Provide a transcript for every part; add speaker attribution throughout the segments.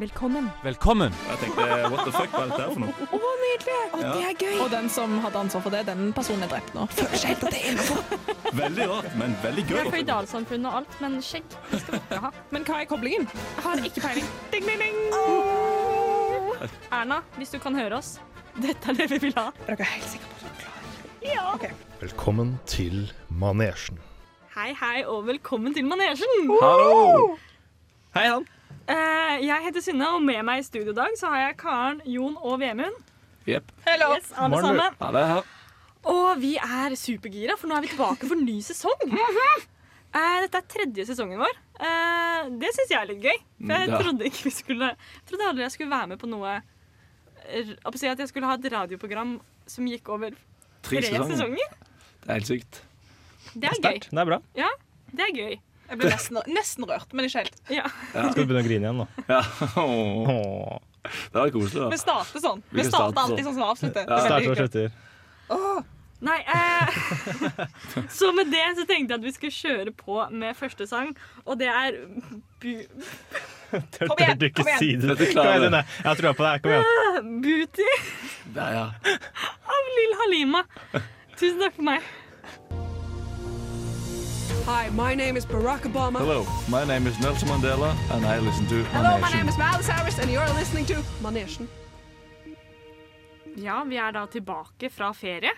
Speaker 1: Velkommen.
Speaker 2: Velkommen!
Speaker 3: Jeg tenkte what the fuck, hva er dette her for noe?
Speaker 1: Å, nydelig!
Speaker 3: Ja.
Speaker 1: Det er gøy.
Speaker 4: Og den som hadde ansvar for det, den personen er drept nå.
Speaker 3: Veldig rart, men veldig gøy.
Speaker 5: Jeg er Føydalsamfunnet og alt, men skjegg det skal vi ikke ha.
Speaker 4: Men hva er koblingen?
Speaker 5: Jeg har ikke peiling. Ding, ding, ding. Erna, hvis du kan høre oss, dette er det vi vil ha.
Speaker 4: Er dere helt sikre på at dere er klare?
Speaker 6: Velkommen til manesjen.
Speaker 5: Hei, hei, og velkommen til manesjen.
Speaker 3: Hallo! Hei sann.
Speaker 5: Eh, jeg heter Synne, og med meg i studio i dag så har jeg Karen, Jon og Vemund.
Speaker 3: Jepp.
Speaker 4: Hello.
Speaker 5: Yes, alle
Speaker 6: Morgen, du.
Speaker 5: sammen.
Speaker 3: Ha det her.
Speaker 5: Og vi er supergira, for nå er vi tilbake for ny sesong. Eh, dette er tredje sesongen vår. Eh, det syns jeg er litt gøy. For jeg
Speaker 3: Ja.
Speaker 5: trodde ikke vi skulle Jeg trodde aldri jeg skulle være med på noe r- å si At jeg skulle ha et radioprogram som gikk over
Speaker 3: Tre
Speaker 5: tre
Speaker 3: sesonger.
Speaker 5: sesonger.
Speaker 3: Det er helt sykt.
Speaker 5: Det er gøy.
Speaker 7: Det er bra.
Speaker 5: Det er gøy.
Speaker 4: Jeg ble nesten, nesten rørt, men ikke helt.
Speaker 5: Ja.
Speaker 7: Skal vi begynne å grine igjen, da?
Speaker 3: Ja. Åh, Det var koselig, da.
Speaker 4: Vi starter sånn.
Speaker 3: Vi
Speaker 4: Vi starter
Speaker 3: starter
Speaker 4: alltid sånn som vi avslutter.
Speaker 3: Ja.
Speaker 4: Det er
Speaker 7: Starter
Speaker 4: veldig
Speaker 7: og slutter.
Speaker 5: Nei eh, Så med det så tenkte jeg at vi skulle kjøre på med første sang, og det er Bu-
Speaker 4: Kom igjen,
Speaker 7: Tør du ikke
Speaker 4: kom igjen.
Speaker 7: si det?
Speaker 3: Dette
Speaker 7: Kom
Speaker 3: klarer
Speaker 7: igjen,
Speaker 3: vi.
Speaker 7: Line. Jeg har trua på deg. Kom igjen.
Speaker 5: Booty
Speaker 3: Ja, ja.
Speaker 5: av Lill Halima. Tusen takk for meg.
Speaker 8: Hi, my name is Barack Obama.
Speaker 3: Hello, my name is Nelson Mandela, and I listen to
Speaker 8: Hello, my name
Speaker 3: Manation.
Speaker 8: is Miles Harris, and you're listening to Manesjen.
Speaker 5: Ja, vi er da tilbake fra ferie.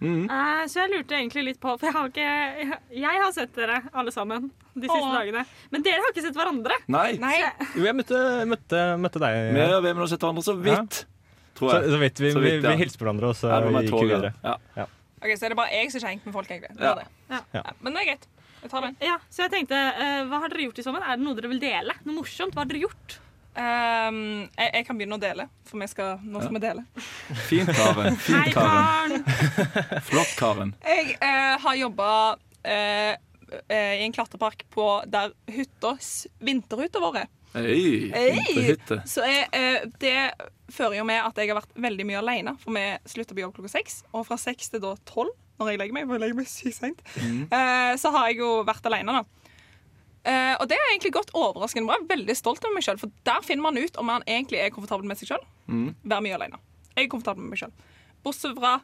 Speaker 7: Mm.
Speaker 3: Mhm.
Speaker 5: Eh, så jeg lurte egentlig litt på For jeg har ikke Jeg har sett dere alle sammen de siste
Speaker 4: Åh.
Speaker 5: dagene. Men dere har ikke sett hverandre.
Speaker 3: Nei.
Speaker 4: Nei,
Speaker 7: Jo, jeg møtte, møtte, møtte
Speaker 3: Vi
Speaker 7: deg.
Speaker 3: har hvem har sett hverandre så vidt, tror
Speaker 7: Så,
Speaker 3: jeg.
Speaker 7: så vidt. Vi,
Speaker 3: Så
Speaker 7: vi,
Speaker 3: vidt, ja.
Speaker 7: vi hilste på hverandre, og så
Speaker 3: Er det med
Speaker 7: gikk vi
Speaker 3: toget?
Speaker 7: videre.
Speaker 3: Ja.
Speaker 4: Ok, så er det bare jeg som ikke har hengt med folk, egentlig. Det
Speaker 3: Ja.
Speaker 4: er det.
Speaker 5: Ja.
Speaker 4: Ja. Men det er greit. Jeg tar den.
Speaker 5: Ja, Så jeg tenkte, eh, hva har dere gjort i sommer? Er det noe dere vil dele? Noe morsomt? Hva har dere gjort?
Speaker 4: Ehm, jeg, jeg kan begynne å dele, for vi skal, nå skal vi dele.
Speaker 3: Fint,
Speaker 5: Hei,
Speaker 3: Karen. Fint, Karen.
Speaker 5: Karen.
Speaker 3: Flott, Karen.
Speaker 4: Jeg eh, har jobba eh, eh, i en klatrepark på der hytta s- vinterhytta vår er.
Speaker 3: Hei.
Speaker 4: Hei.
Speaker 3: Hytte.
Speaker 4: Så jeg, eh, det fører jo med at jeg har vært veldig mye alene, for vi slutter på jobb klokka seks. Og fra seks til da tolv, når jeg legger meg, for jeg legger meg sykt seint, eh, så har jeg jo vært alene, da. Eh, og det har egentlig gått overraskende bra. Jeg er Veldig stolt over meg sjøl. For der finner man ut om man egentlig er komfortabel med seg sjøl. Være mye alene. Jeg er komfortabel med meg sjøl. Bortsett fra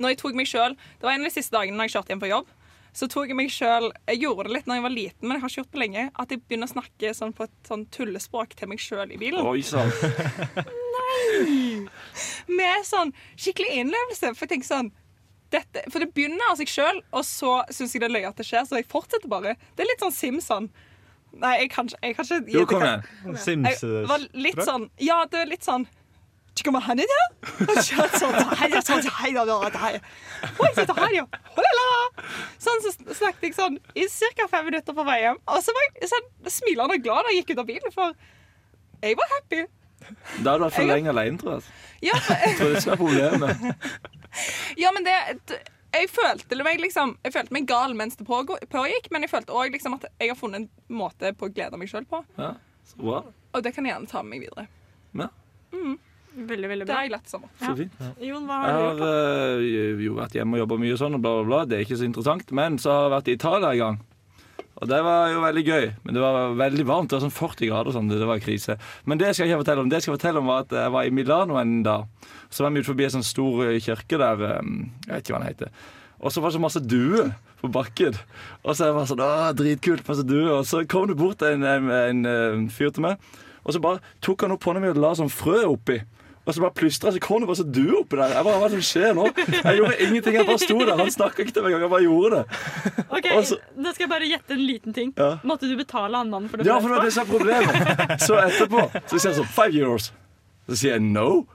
Speaker 4: når jeg tok meg sjøl Det var en av de siste dagene når jeg kjørte hjem fra jobb. Så tok jeg meg selv, jeg gjorde det litt når jeg var liten, men jeg har ikke gjort det på lenge, at jeg begynner å snakke sånn på et sånn tullespråk til meg sjøl i bilen.
Speaker 3: Oi sann.
Speaker 4: Med sånn skikkelig innlevelse. For jeg tenker sånn dette, For det begynner av seg sjøl, og så syns jeg det er løye at det skjer, så jeg fortsetter bare. Det er litt sånn Simpson. Nei, jeg kan ikke jeg kan ikke gi
Speaker 3: Jo,
Speaker 4: det-
Speaker 3: kom igjen.
Speaker 7: Sims. eh,
Speaker 4: Jeg var litt sånn Ja, det er litt sånn «Skal man ha det der?» Og så sånn, «Hei, ja, sånn, hei, ja, ja, hei. Oi, så det her, ja. Holala. Sånn så snakket jeg sånn i ca. fem minutter på vei hjem. Og så var jeg sånn, smilende og glad da jeg gikk ut av bilen, for jeg var happy.
Speaker 3: Da hadde du vært for lenge alene, tror jeg. altså.
Speaker 4: Ja,
Speaker 3: Jeg tror det som er problemet.
Speaker 4: ja men det det- jeg følte, meg liksom, jeg følte meg gal mens det pågå- pågikk, men jeg følte òg liksom at jeg har funnet en måte på å glede meg sjøl på.
Speaker 3: Ja. Så bra.
Speaker 4: Og det kan jeg gjerne ta med meg videre.
Speaker 5: Veldig, veldig
Speaker 4: Det
Speaker 5: bra.
Speaker 4: har jeg lært i sommer.
Speaker 3: Så fint.
Speaker 5: Jon, hva har du
Speaker 3: Jeg har
Speaker 5: gjort? da?
Speaker 3: eh, jo vært hjemme og jobba mye og sånn, og bla, bla, bla. Det er ikke så interessant. Men så har jeg vært i Italia en gang. Og det var jo veldig gøy. Men det var veldig varmt. Det var sånn 40 grader og sånn. Det det var krise. Men det skal jeg ikke fortelle om. Det jeg skal fortelle om, var at jeg var i Milano en dag. Så var vi ut forbi en sånn stor eh, kirke der eh, Jeg vet ikke hva den heter. Og så var det så masse duer på bakken. Og så jeg var sånn, Åh, dritkult, masse duer. Og så kom det bort en, en, en, eh, fyr til meg, og så bare tok han opp hånda mi og la sånn frø oppi. Og så bare plystra, så kom det bare så duer oppi der. Jeg bare, Hva er det som skjer nå? Jeg gjorde ingenting, jeg bare sto der. Han snakka ikke til meg engang, jeg bare gjorde det.
Speaker 5: Ok,
Speaker 3: altså-
Speaker 5: Da skal jeg bare gjette en liten ting.
Speaker 3: Ja.
Speaker 5: Måtte du betale han mannen for det?
Speaker 3: Ja, for det
Speaker 5: første?
Speaker 3: var det som er problemet. Så etterpå så sier jeg sånn Five euros. Så sier jeg no.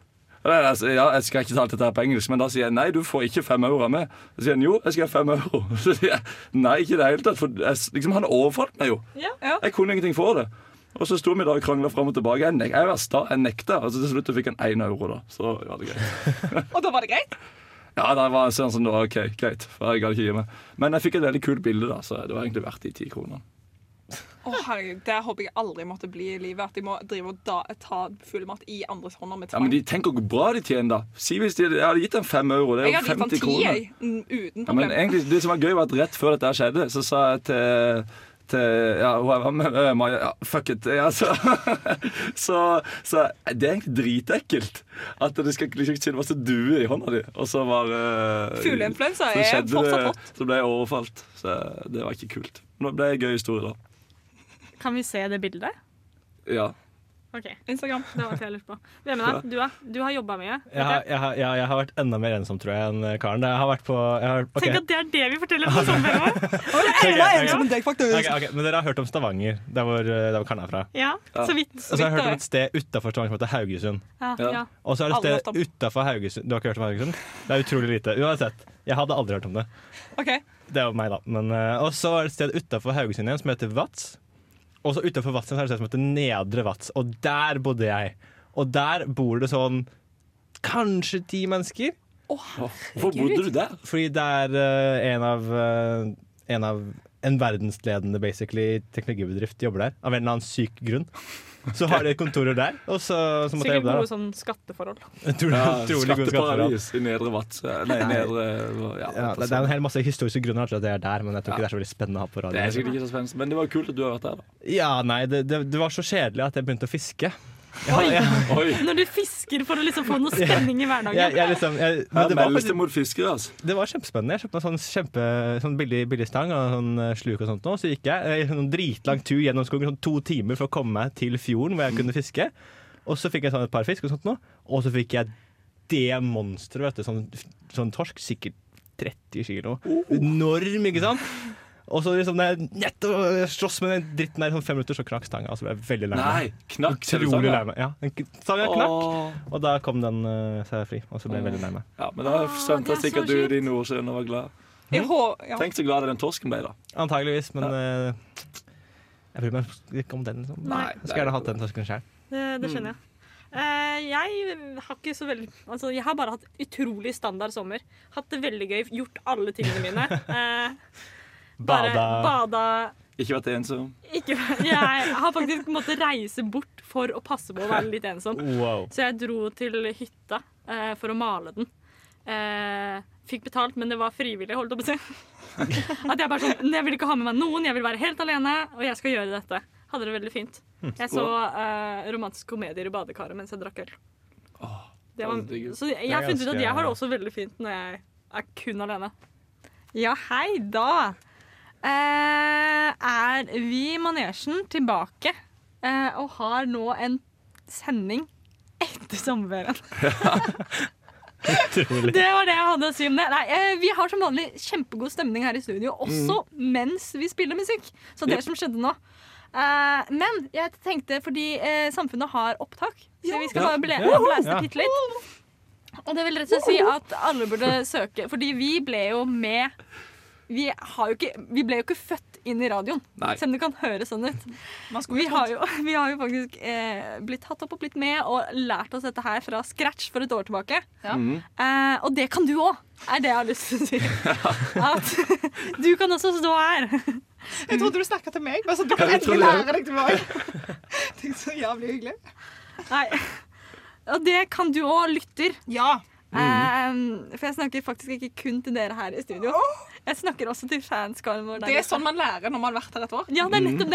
Speaker 3: Eller, altså, ja, jeg skal ikke ta alt dette her på engelsk, men da sier jeg nei, du får ikke fem euro av meg. Så sier han jo, jeg skal ha fem euro. Så sier jeg nei, ikke i det hele tatt. For jeg, s- liksom, han overfalt meg jo.
Speaker 5: Ja.
Speaker 3: Jeg kunne ingenting for det. Og så sto vi da og krangla fram og tilbake. Jeg, nek jeg var sta, jeg nekta. Og så til slutt fikk han én euro, da. Så var det greit.
Speaker 4: Og da var det greit.
Speaker 3: Ja, da var jeg sånn sånn, da, OK, greit. For jeg gadd ikke gi meg. Men jeg fikk et veldig kult bilde, da, så det var egentlig verdt de ti kronene.
Speaker 4: Å herregud, Det håper jeg aldri måtte bli i livet. At jeg må drive og da, ta fuglemat i andres hånder med
Speaker 3: Ja,
Speaker 4: tvang.
Speaker 3: men de, Tenk hvor bra de tjener, da. Si hvis de jeg hadde gitt dem fem euro. Det er
Speaker 4: jeg
Speaker 3: jo
Speaker 4: hadde gitt han
Speaker 3: 50
Speaker 4: ti,
Speaker 3: kroner.
Speaker 4: jeg. mm, Uten
Speaker 3: Ja, men
Speaker 4: problem.
Speaker 3: egentlig, det som var gøy, var at rett før dette her skjedde, så sa jeg til til ja, hun jeg var med, øh, Maja, ja, fuck it. Ja, så, så, så det er egentlig dritekkelt at det skal liksom ikke masse duer i hånda di. Og så var øh,
Speaker 4: Fugleinfluensa
Speaker 3: så
Speaker 4: er
Speaker 3: skjedde
Speaker 4: fortsatt
Speaker 3: det-
Speaker 4: hot.
Speaker 3: Så ble jeg overfalt. Så det var ikke kult. Men det ble en gøy historie, da.
Speaker 5: Kan vi se det bildet?
Speaker 3: Ja.
Speaker 5: Ok,
Speaker 4: Instagram.
Speaker 5: Det var det jeg lurte på. Vemund, da? du, har- du har jobba mye.
Speaker 7: Jeg har, jeg, har, jeg, jeg har vært enda mer ensom, tror jeg, enn karen. Jeg har vært på jeg har, ok.
Speaker 5: Tenk at det er det vi forteller på sommeren vår.
Speaker 7: Ok, ok, ok.
Speaker 8: deg, faktisk.
Speaker 7: Ok, ok, Men dere har hørt om Stavanger, der hvor, eh, der hvor karen er fra.
Speaker 5: Ja, så vidt.
Speaker 7: Og
Speaker 3: Altså,
Speaker 7: så har jeg hørt
Speaker 4: Vidt,
Speaker 7: om et sted utafor Stavanger som heter Haugesund.
Speaker 5: Ja,
Speaker 3: Ja.
Speaker 5: ja.
Speaker 7: Og så er det
Speaker 4: Aldri
Speaker 7: et
Speaker 4: hørt om.
Speaker 7: sted utafor Haugesund. Du har ikke hørt om Haugesund? Det er utrolig lite. Uansett. Jeg hadde aldri hørt om det.
Speaker 4: OK.
Speaker 7: Det var meg, da. Men, eh, og så er det et sted utafor Haugesund igjen som heter Vats. Og så utafor Vats igjen så er det et sted som heter Nedre Vats, og der bodde jeg. Og der bor det sånn kanskje ti mennesker.
Speaker 3: Hvorfor bodde du der?
Speaker 7: Fordi det er eh, en av eh, En av en verdensledende basically teknologibedrift jobber der. Av en eller annen syk grunn. Så har de kontorer der, og så, så måtte
Speaker 5: Sikkert
Speaker 7: jeg jobbe der. da.
Speaker 5: gode sånn skatteforhold.
Speaker 7: Utrolig,
Speaker 3: Ja,
Speaker 7: utrolig god skatteparadis.
Speaker 3: skatteparadis i Nedre Vats. Nei, Nedre ja,
Speaker 7: Ja, det, det er en hel masse historiske grunner til at det er der, men jeg tror ikke
Speaker 3: Ja.
Speaker 7: det er så veldig spennende å ha på
Speaker 3: Det er
Speaker 7: radio.
Speaker 3: sikkert ikke så spennende, men det var kult at du har vært der. da
Speaker 7: Ja, nei, det, det, det var så kjedelig at jeg begynte å fiske. Jeg, jeg,
Speaker 3: Oi,
Speaker 5: Når du fisker for å liksom få noe spenning i
Speaker 7: jeg,
Speaker 5: hverdagen.
Speaker 7: jeg liksom jeg, men
Speaker 3: Her
Speaker 7: det, var,
Speaker 3: meldes det
Speaker 7: faktisk-
Speaker 3: mot fiskere, altså.
Speaker 7: det var kjempespennende. Jeg kjøpte meg sånn, kjempe, sånn billig, billig stang og sånn eh, sluk og sånt nå, så gikk jeg eh, en dritlang tur gjennom skogen, sånn to timer for å komme meg til fjorden hvor jeg kunne fiske. Og så fikk jeg sånn et par fisk og sånt nå, og så fikk jeg det monsteret, vet du, sånn, sånn torsk, sikkert 30 kilo. Enorm, ikke sant? Og så liksom, når jeg nettopp slåss med den dritten der i sånn fem minutter, så knakk stanga. Og så ble jeg veldig lei meg.
Speaker 3: Nei, knakk hele
Speaker 7: Utrolig lei
Speaker 3: sangen.
Speaker 7: meg. Ja, den k- stanga knakk, og da kom den eh, seg fri. Og så
Speaker 3: Mm.
Speaker 7: ble jeg veldig lei meg.
Speaker 3: Ja, men da skjønte
Speaker 5: det
Speaker 3: jeg
Speaker 5: er
Speaker 3: sikkert
Speaker 5: så
Speaker 3: du
Speaker 5: kjipt.
Speaker 3: din ordsøn og var glad.
Speaker 4: Jeg hå- ja.
Speaker 3: Tenk så glad den torsken ble, da.
Speaker 7: Antageligvis, men eh, jeg bryr meg ikke om den. Liksom.
Speaker 5: Nei.
Speaker 7: Jeg skulle gjerne hatt den torsken sjøl.
Speaker 5: Det, det skjønner jeg. Eh, jeg har ikke så veldig Altså, jeg har bare hatt utrolig standard sommer. Hatt det veldig gøy, gjort alle tingene mine. Eh, bare
Speaker 7: Bada.
Speaker 5: bada
Speaker 3: Ikke vært ensom.
Speaker 5: ikke, Jeg har faktisk måttet reise bort for å passe på å være litt ensom.
Speaker 7: Wow.
Speaker 5: Så jeg dro til hytta eh, for å male den. Eh, fikk betalt, men det var frivillig, holdt jeg på å si. At jeg bare sånn "Nei, Jeg vil ikke ha med meg noen, jeg vil være helt alene, og jeg skal gjøre dette. Hadde det veldig fint.
Speaker 3: Hm,
Speaker 5: Jeg så eh, romantiske komedier i badekaret mens jeg drakk øl. Det var,
Speaker 3: det er digg.
Speaker 5: så jeg har funnet ut at
Speaker 7: ganske-
Speaker 5: jeg har det også veldig fint når jeg er kun alene. Ja, hei da. Eh, er vi i manesjen tilbake eh, og har nå en sending etter sommerferien.
Speaker 7: Utrolig.
Speaker 5: Det var det jeg hadde å si om det. Nei, eh, vi har som vanlig kjempegod stemning her i studio, også mens vi spiller musikk. Så det
Speaker 3: Yep.
Speaker 5: som skjedde nå. Eh, men jeg tenkte, fordi eh, samfunnet har opptak, så vi skal
Speaker 3: Ja.
Speaker 5: bare ble,
Speaker 7: Ja.
Speaker 5: blæste
Speaker 7: Ja.
Speaker 5: bitte litt. Og det vil rett og slett si at alle burde søke, fordi vi ble jo med Vi, har jo ikke, vi ble jo ikke født inn i radioen,
Speaker 3: Nei.
Speaker 5: selv om det kan høres sånn ut.
Speaker 4: Man skulle
Speaker 5: Vi
Speaker 4: jo
Speaker 5: har
Speaker 4: trodd.
Speaker 5: jo, vi har jo faktisk eh, blitt tatt opp og blitt med og lært oss dette her fra scratch for et år tilbake.
Speaker 4: Ja.
Speaker 5: Eh, og det kan du òg, er det jeg har lyst til å si. At du kan også stå her.
Speaker 1: Jeg trodde du snakka til meg. Bare sånn, du kan endelig lære deg tilbake. Tenk så jævlig hyggelig.
Speaker 5: Nei. Og det kan du òg, lytter.
Speaker 1: Ja.
Speaker 5: Eh, for jeg snakker faktisk ikke kun til dere her i studio. Jeg snakker også til fanskaren vår. der
Speaker 4: Det er
Speaker 5: ute.
Speaker 4: sånn man lærer når man har vært her et år.
Speaker 5: Ja,
Speaker 3: Mm.
Speaker 5: det er nettopp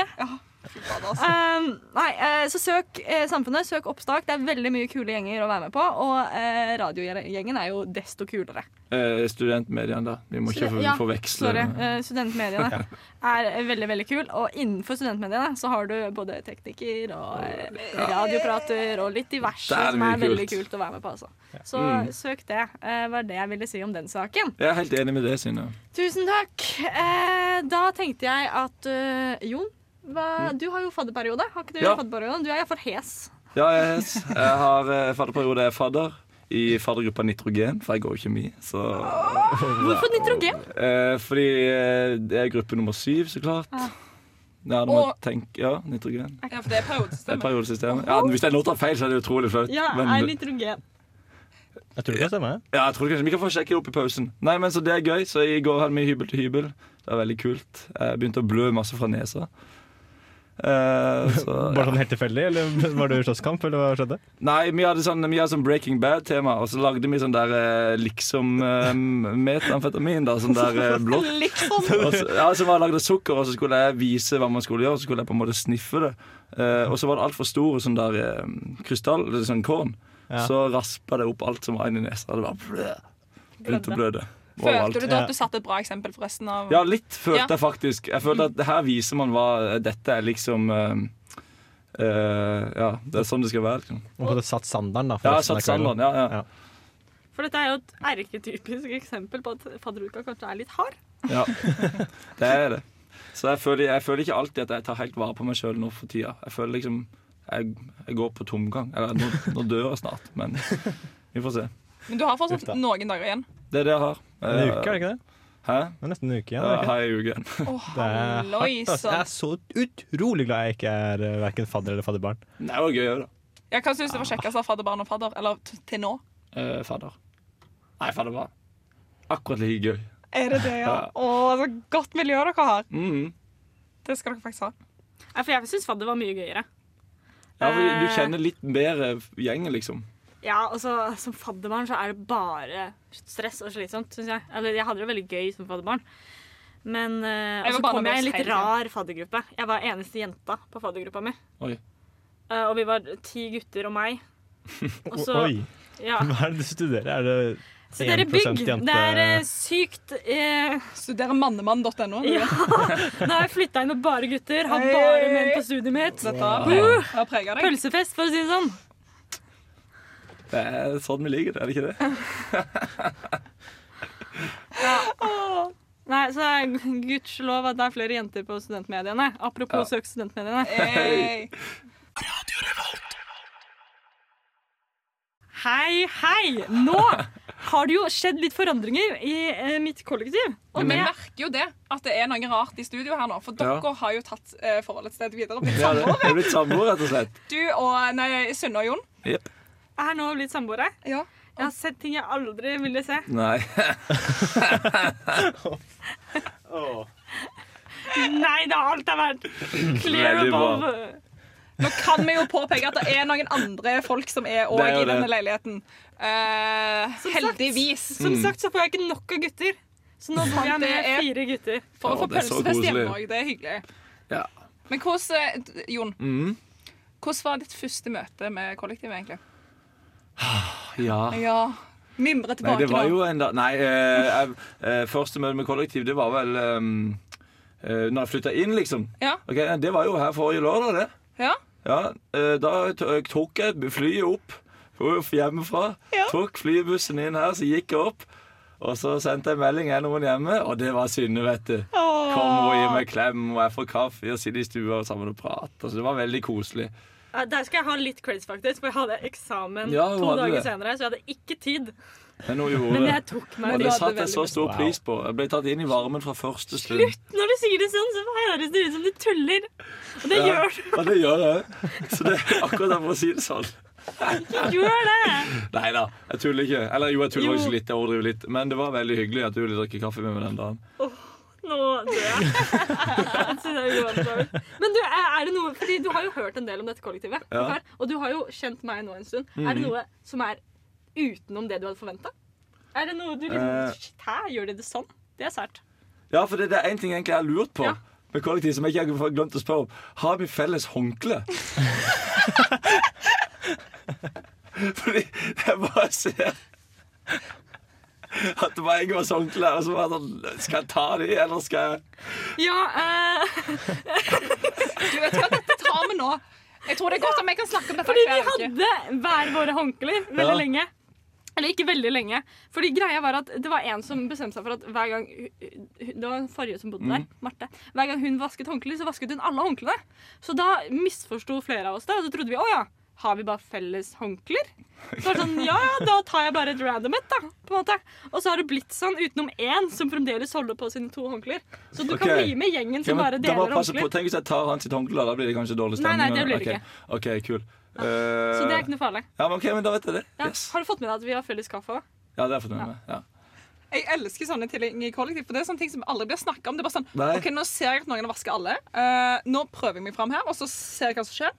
Speaker 5: det. Um, nei, eh, så søk eh, Samfunnet, søk Oppstak. Det er veldig mye kule gjenger å være med på. Og eh, radiogjengen er jo desto kulere.
Speaker 3: Eh, studentmediene, da. Vi må ikke
Speaker 5: Stud- ja,
Speaker 3: forveksle.
Speaker 5: Sorry. eh, studentmediene er veldig veldig kul Og innenfor studentmediene så har du både tekniker og eh, radioprater og litt diverse
Speaker 3: Det er
Speaker 5: som
Speaker 3: mye
Speaker 5: er veldig
Speaker 3: kult. Mm.
Speaker 5: kult å være med på. Altså. Så søk det, eh, var det jeg ville si om den saken.
Speaker 3: Jeg er helt enig med det, Synne.
Speaker 5: Tusen takk. Eh, da tenkte jeg at eh, Jon, hva, du har jo fadderperiode. Har ikke du
Speaker 3: Ja.
Speaker 5: fadderperiode? Du er iallfall hes.
Speaker 3: Ja, jeg, jeg har eh, fadderperiode. Jeg er fadder i faddergruppa Nitrogen, for jeg går jo kjemi. Så
Speaker 5: Hvorfor nitrogen?
Speaker 3: Eh, fordi eh, det er gruppe nummer syv, så klart.
Speaker 5: Ah.
Speaker 3: Ja, du må
Speaker 4: Og-
Speaker 3: tenke Ja, nitrogen.
Speaker 4: Ja, for det
Speaker 3: Det
Speaker 4: er
Speaker 3: er
Speaker 4: periodesystemet.
Speaker 3: periodesystemet. Ja, hvis jeg nå tar feil, så er det utrolig flaut.
Speaker 5: Ja,
Speaker 3: Men-
Speaker 5: er nitrogen.
Speaker 7: Jeg tror det kan stemme.
Speaker 3: ja, jeg tror kanskje vi kan få sjekke det opp i pausen. Nei, men så Det er gøy. Så i går hadde vi hybel til hybel. Det var veldig kult. Jeg begynte å blø masse fra nesa. Eh, så,
Speaker 7: Bare sånn helt tilfeldig, eller var det slåsskamp, eller hva skjedde?
Speaker 3: Nei, vi hadde sånn, vi hadde sånn Breaking Bad-tema, og så lagde vi sånn der eh, liksom eh, metamfetamin, da. Sånn der eh, blått.
Speaker 5: sånn.
Speaker 4: Liksom.
Speaker 3: Og så- Ja, så var jeg lagd av sukker, og så skulle jeg vise hva man skulle gjøre. Så skulle jeg på en måte sniffe det. Eh, og så var det altfor store sånn der eh, krystall, eller sånn korn.
Speaker 7: Ja.
Speaker 3: Så raspa det opp alt som var inni nesa. Det var blø. Begynte å blø det.
Speaker 4: Følte du
Speaker 3: Overalt.
Speaker 4: da at du satte et bra eksempel for resten av
Speaker 3: Ja, litt følte
Speaker 4: Ja.
Speaker 3: jeg faktisk. Jeg følte at her viser man hva dette er liksom eh, eh, Ja, det er sånn det skal være. Liksom.
Speaker 7: Og så satt Sanderen, da. for
Speaker 3: Ja, jeg
Speaker 7: resten av
Speaker 3: satt sandalen.
Speaker 7: kvelden.
Speaker 3: Ja, ja.
Speaker 5: For dette er jo et erketypisk eksempel på at fadderuka kanskje er litt hard.
Speaker 3: Ja, det er det. Så jeg føler, jeg føler ikke alltid at jeg tar helt vare på meg sjøl nå for tida. Jeg føler liksom jeg, jeg går på tomgang. Eller nå, nå dør jeg snart, men vi får se.
Speaker 4: Men du har
Speaker 7: Uff da.
Speaker 4: fortsatt noen dager igjen.
Speaker 3: Det er det jeg har. Eh,
Speaker 7: En uke, er det ikke det?
Speaker 3: Hæ?
Speaker 7: Det er nesten en uke igjen.
Speaker 3: Ja,
Speaker 7: er det ikke det?
Speaker 3: jeg har ei uke igjen.
Speaker 4: Å,
Speaker 7: Det er hardt, ass. Jeg
Speaker 4: halloisen.
Speaker 7: er så utrolig glad jeg ikke er eh, hverken fadder eller fadderbarn.
Speaker 3: Det var gøy òg, da.
Speaker 4: Ja, hva syns du var kjekkest av fadderbarn og fadder? Eller t- til nå?
Speaker 3: Eh, fadder. Nei, fadder var akkurat like gøy.
Speaker 4: Er det det, ja?
Speaker 3: Ja.
Speaker 4: Å, så godt miljø dere har.
Speaker 3: Mhm.
Speaker 4: Det skal dere faktisk ha.
Speaker 5: Ja, for jeg syns fadder var mye gøyere.
Speaker 3: Ja, for du kjenner litt bedre gjengen, liksom.
Speaker 5: Ja, og så Som fadderbarn så er det bare stress og slitsomt, syns jeg. Eller jeg hadde det veldig gøy som fadderbarn. Men eh,
Speaker 4: Jeg
Speaker 5: og
Speaker 4: var
Speaker 5: så
Speaker 4: bare
Speaker 5: kom jeg i en
Speaker 4: nervøs
Speaker 5: litt
Speaker 4: hele tiden.
Speaker 5: rar faddergruppe. Jeg var eneste jenta på faddergruppa mi.
Speaker 3: Oi.
Speaker 5: Eh, og vi var ti gutter og meg. Og så,
Speaker 7: Oi,
Speaker 5: ja.
Speaker 7: hva er det du studerer? Er det
Speaker 5: Så dere
Speaker 7: 1%
Speaker 5: bygg.
Speaker 7: jente-
Speaker 5: Det er eh, sykt eh,
Speaker 4: Studerer mannemann.no.
Speaker 5: Ja. Nå har jeg flytta inn med bare gutter. Har bare menn på studiet mitt.
Speaker 4: Dette har pre- har prega deg.
Speaker 5: Pølsefest, for å si det sånn.
Speaker 3: Det er sånn vi liker det, er det ikke det?
Speaker 5: Nei, så er- gudskjelov at det er flere jenter på studentmediene. Apropos søk studentmediene.
Speaker 4: Hey.
Speaker 5: Hei, hei! Nå har det jo skjedd litt forandringer i eh, mitt kollektiv.
Speaker 4: Og vi merker jo det, at det er noe rart i studio her nå. For
Speaker 3: Ja.
Speaker 4: dere har jo tatt eh, forholdet et sted videre. Blitt
Speaker 3: Ja,
Speaker 4: sammen.
Speaker 3: det det er blitt samboer, rett og slett.
Speaker 4: Du og nei, Sunne og Jon.
Speaker 3: Jep.
Speaker 5: Jeg er nå blitt samboere.
Speaker 4: Ja.
Speaker 5: Jeg har sett ting jeg aldri ville se.
Speaker 3: Nei.
Speaker 5: Nei da, alt har vært clear
Speaker 3: Veldig bra.
Speaker 5: above.
Speaker 4: Nå kan vi jo påpeke at det er noen andre folk som er òg
Speaker 3: Det er jo
Speaker 4: i denne
Speaker 3: det.
Speaker 4: leiligheten. Eh,
Speaker 5: Som sagt-
Speaker 4: heldigvis.
Speaker 5: Som
Speaker 3: Mm.
Speaker 5: sagt så får jeg ikke nok av gutter. Så nå bor jeg
Speaker 4: Det
Speaker 5: med
Speaker 4: er-
Speaker 5: fire gutter.
Speaker 4: For å
Speaker 3: Å,
Speaker 4: få
Speaker 3: det er så
Speaker 4: pølsefest hjemme
Speaker 3: koselig.
Speaker 4: òg. Det er hyggelig.
Speaker 3: Ja.
Speaker 4: Men hvordan, eh, Jon,
Speaker 3: Mhm.
Speaker 4: hvordan var ditt første møte med kollektivet, egentlig?
Speaker 3: Ja.
Speaker 5: Ah.
Speaker 4: Ja, Mimre
Speaker 3: Nei,
Speaker 4: tilbake
Speaker 3: det var
Speaker 4: nå.
Speaker 3: jo en dag Nei, eh, jeg, eh, første møte med kollektiv, det var vel um, eh, Når jeg flytta inn, liksom.
Speaker 4: Ja.
Speaker 3: Ok, Det var jo her forrige lørdag, det.
Speaker 4: Ja.
Speaker 3: Ja, eh, Da t- tok jeg flyet opp opp hjemmefra.
Speaker 4: Ja.
Speaker 3: Tok flybussen inn her, så gikk jeg opp. Og så sendte jeg melding til noen hjemme, og det var Synne, vet du. Kom og gi meg en klem, og jeg får kaffe, og sitter i stua og sammen og prater. Så det var veldig koselig.
Speaker 5: Ja, Der skal jeg ha litt creds, faktisk, for jeg hadde eksamen
Speaker 3: Ja, du
Speaker 5: to
Speaker 3: hadde
Speaker 5: dager
Speaker 3: det.
Speaker 5: senere, så jeg hadde ikke tid.
Speaker 3: Men hun gjorde
Speaker 5: Men
Speaker 3: det.
Speaker 5: jeg tok meg
Speaker 4: Men
Speaker 3: Og
Speaker 4: du
Speaker 3: det
Speaker 4: hadde
Speaker 3: satte jeg
Speaker 4: veldig
Speaker 3: så
Speaker 4: lyst.
Speaker 3: stor
Speaker 7: Wow.
Speaker 3: pris på. Jeg ble tatt inn i varmen fra første stund.
Speaker 5: Slutt! Når du sier det sånn, så høres det ut som du tuller. Og det
Speaker 3: Ja.
Speaker 5: gjør du
Speaker 3: Ja, det gjør jeg òg. Så det er akkurat derfor å si det sånn.
Speaker 5: ikke. Gjør det!
Speaker 3: Nei da, jeg tuller ikke. Eller jo, jeg tuller
Speaker 5: Jo.
Speaker 3: faktisk litt. Jeg overdriver litt. Men det var veldig hyggelig at du ville drikke kaffe med meg den dagen.
Speaker 5: Nå dør jeg. Så det er uansvarlig. Men du, er er det noe, fordi du har jo hørt en del om dette kollektivet,
Speaker 3: Ja. Mm.
Speaker 5: før, og du har jo kjent meg nå en stund. Er det noe som er utenom det du hadde forventa? Er det noe du
Speaker 3: Eh.
Speaker 5: liksom Shit, hæ, gjør de det sånn? Det er sært.
Speaker 3: Ja, for det, det er én ting egentlig jeg har lurt på
Speaker 5: Ja.
Speaker 3: med kollektiv som jeg ikke har glemt å spørre om. Har vi felles håndkle? Fordi jeg bare ser at det var Ingvars håndkle, og så var det sånn Skal jeg ta de, eller skal jeg
Speaker 5: Ja, eh,
Speaker 4: Du vet hva, dette tar vi nå. Jeg tror det er godt om jeg kan snakke om dette
Speaker 5: Fordi vi
Speaker 4: hver uke.
Speaker 5: hadde hver våre håndklær veldig
Speaker 3: Ja.
Speaker 5: lenge. Eller ikke veldig lenge. Fordi greia var at det var en som bestemte seg for at hver gang hu- hu- Det var den forrige som bodde
Speaker 3: Mm.
Speaker 5: der, Marte. Hver gang hun vasket håndklær, så vasket hun alle håndklærne. Så da misforsto flere av oss det, og så trodde vi å ja, har vi bare felles håndklær? Så var det sånn, ja, ja, da tar jeg bare et random et, da. på en måte. Og så har det blitt sånn utenom én som fremdeles holder på sine to håndklær. Så du kan
Speaker 3: Ok.
Speaker 5: bli med gjengen
Speaker 3: Ja,
Speaker 5: som
Speaker 3: men
Speaker 5: bare
Speaker 3: da må jeg
Speaker 5: deler
Speaker 3: passe på.
Speaker 5: håndklær.
Speaker 3: Tenk hvis jeg tar hans sitt håndkle, da. da blir det kanskje dårlig
Speaker 5: Nei,
Speaker 3: stemning.
Speaker 5: nei, det blir
Speaker 3: Ok.
Speaker 5: det ikke.
Speaker 3: OK, kul.
Speaker 5: Så det
Speaker 3: Eh,
Speaker 5: er ikke noe farlig.
Speaker 3: ja, men ok, men da vet jeg det.
Speaker 5: Ja.
Speaker 3: Yes.
Speaker 5: Har du fått med deg at vi har felles kaffe òg?
Speaker 3: Ja, det har jeg fått med meg. Ja.
Speaker 4: Jeg elsker sånne ting i kollektiv, for det er sånne ting som aldri blir snakka om. Det er bare sånn,
Speaker 3: Nei.
Speaker 4: ok, Nå ser jeg at noen har vasket alle. Eh, nå prøver jeg meg fram her, og så ser jeg hva som skjer.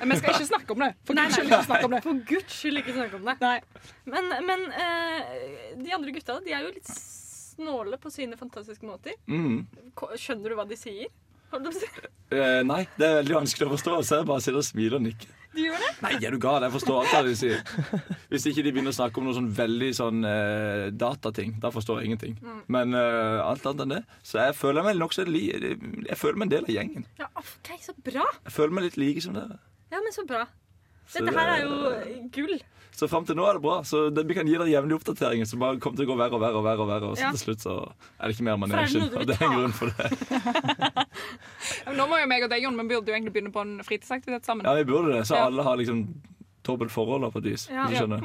Speaker 4: Men jeg skal ikke snakke om det. For
Speaker 5: Nei,
Speaker 4: Guds skyld
Speaker 5: nei.
Speaker 4: ikke snakke om det.
Speaker 5: For guds skyld ikke snakke om det.
Speaker 4: Nei.
Speaker 5: Men, men eh, de andre gutta de er jo litt snåle på sine fantastiske måter.
Speaker 3: Mm.
Speaker 5: Ko- Skjønner du hva de sier? Holdt jeg på å si.
Speaker 3: Eh, nei, det er veldig vanskelig å forstå. Så jeg bare sitter og smiler og nikker.
Speaker 5: De gjør det?
Speaker 3: Nei, er du gal? Jeg forstår alt hva de sier. Hvis ikke de begynner å snakke om noe sånn veldig sånn eh, datating, da forstår jeg ingenting.
Speaker 5: Mm.
Speaker 3: Men eh, alt annet enn det. Så jeg føler meg nokså li... Jeg føler meg en del av gjengen.
Speaker 5: Ja, OK, så bra!
Speaker 3: Jeg føler meg litt like som dere.
Speaker 5: Ja, men så bra.
Speaker 3: Så
Speaker 5: Dette
Speaker 3: det-
Speaker 5: her er jo gull.
Speaker 3: Så fram til nå er det bra. Så det, vi kan gi dere jevnlige oppdateringer. Så bare kommer til å gå verre og verre og verre. Og verre Og så
Speaker 5: Ja.
Speaker 3: til slutt så er det ikke mer
Speaker 5: det
Speaker 3: manesjen.
Speaker 5: noe du vil
Speaker 3: Og det er en
Speaker 5: ta?
Speaker 3: grunn for det.
Speaker 4: Men Nå må jo meg og deg, Jon, vi burde jo egentlig begynne på en fritidsaktivitet sammen.
Speaker 3: Ja, vi burde det. Så
Speaker 4: Ja.
Speaker 3: alle har liksom dobbelt forhold da, på et vis.
Speaker 5: Ja.
Speaker 3: Hvis du skjønner.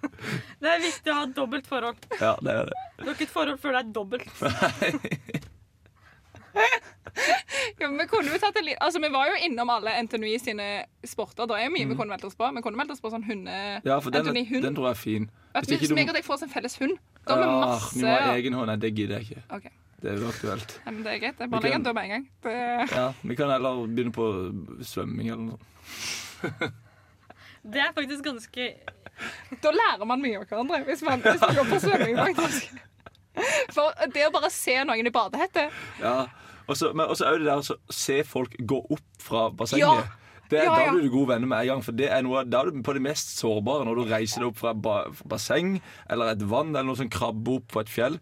Speaker 5: Det er viktig å ha dobbelt forhold.
Speaker 3: Ja, det er det.
Speaker 5: Du har ikke et forhold før det er dobbelt.
Speaker 4: Ja, men vi kunne jo tatt en li altså, vi var jo innom alle NTNUI sine sporter. Det er mye vi kunne meldt oss på. Vi kunne meldt oss på sånn hunde...
Speaker 3: Mm. Ja, for den,
Speaker 4: Anthony, hund?
Speaker 3: den tror jeg er fin.
Speaker 4: At vi,
Speaker 3: ikke
Speaker 4: hvis
Speaker 3: du-
Speaker 4: meg og deg får oss en felles hund, da har
Speaker 3: Ah,
Speaker 4: vi
Speaker 3: vi må
Speaker 4: masse
Speaker 3: ha egen hånd. Nei, det gidder jeg ikke.
Speaker 4: Ok.
Speaker 3: Det er uaktuelt.
Speaker 4: Nei, men det er greit. Jeg
Speaker 3: Vi
Speaker 4: bare legger
Speaker 3: kan-
Speaker 4: den død med en gang. Det...
Speaker 3: Ja, Vi kan heller begynne på svømming eller noe. sånt.
Speaker 5: Det er faktisk ganske
Speaker 4: Da lærer man mye av hverandre hvis man, hvis man går på svømming, faktisk. For det å bare se noen i badehette
Speaker 3: Ja, Og så men også er det der å se folk gå opp fra bassenget.
Speaker 4: Ja.
Speaker 3: Det er,
Speaker 4: Ja, ja.
Speaker 3: Da blir du gode venner med en gang. For det er noe, Da er du på det mest sårbare når du reiser deg opp fra ba basseng eller et vann eller noe som krabber opp på et fjell.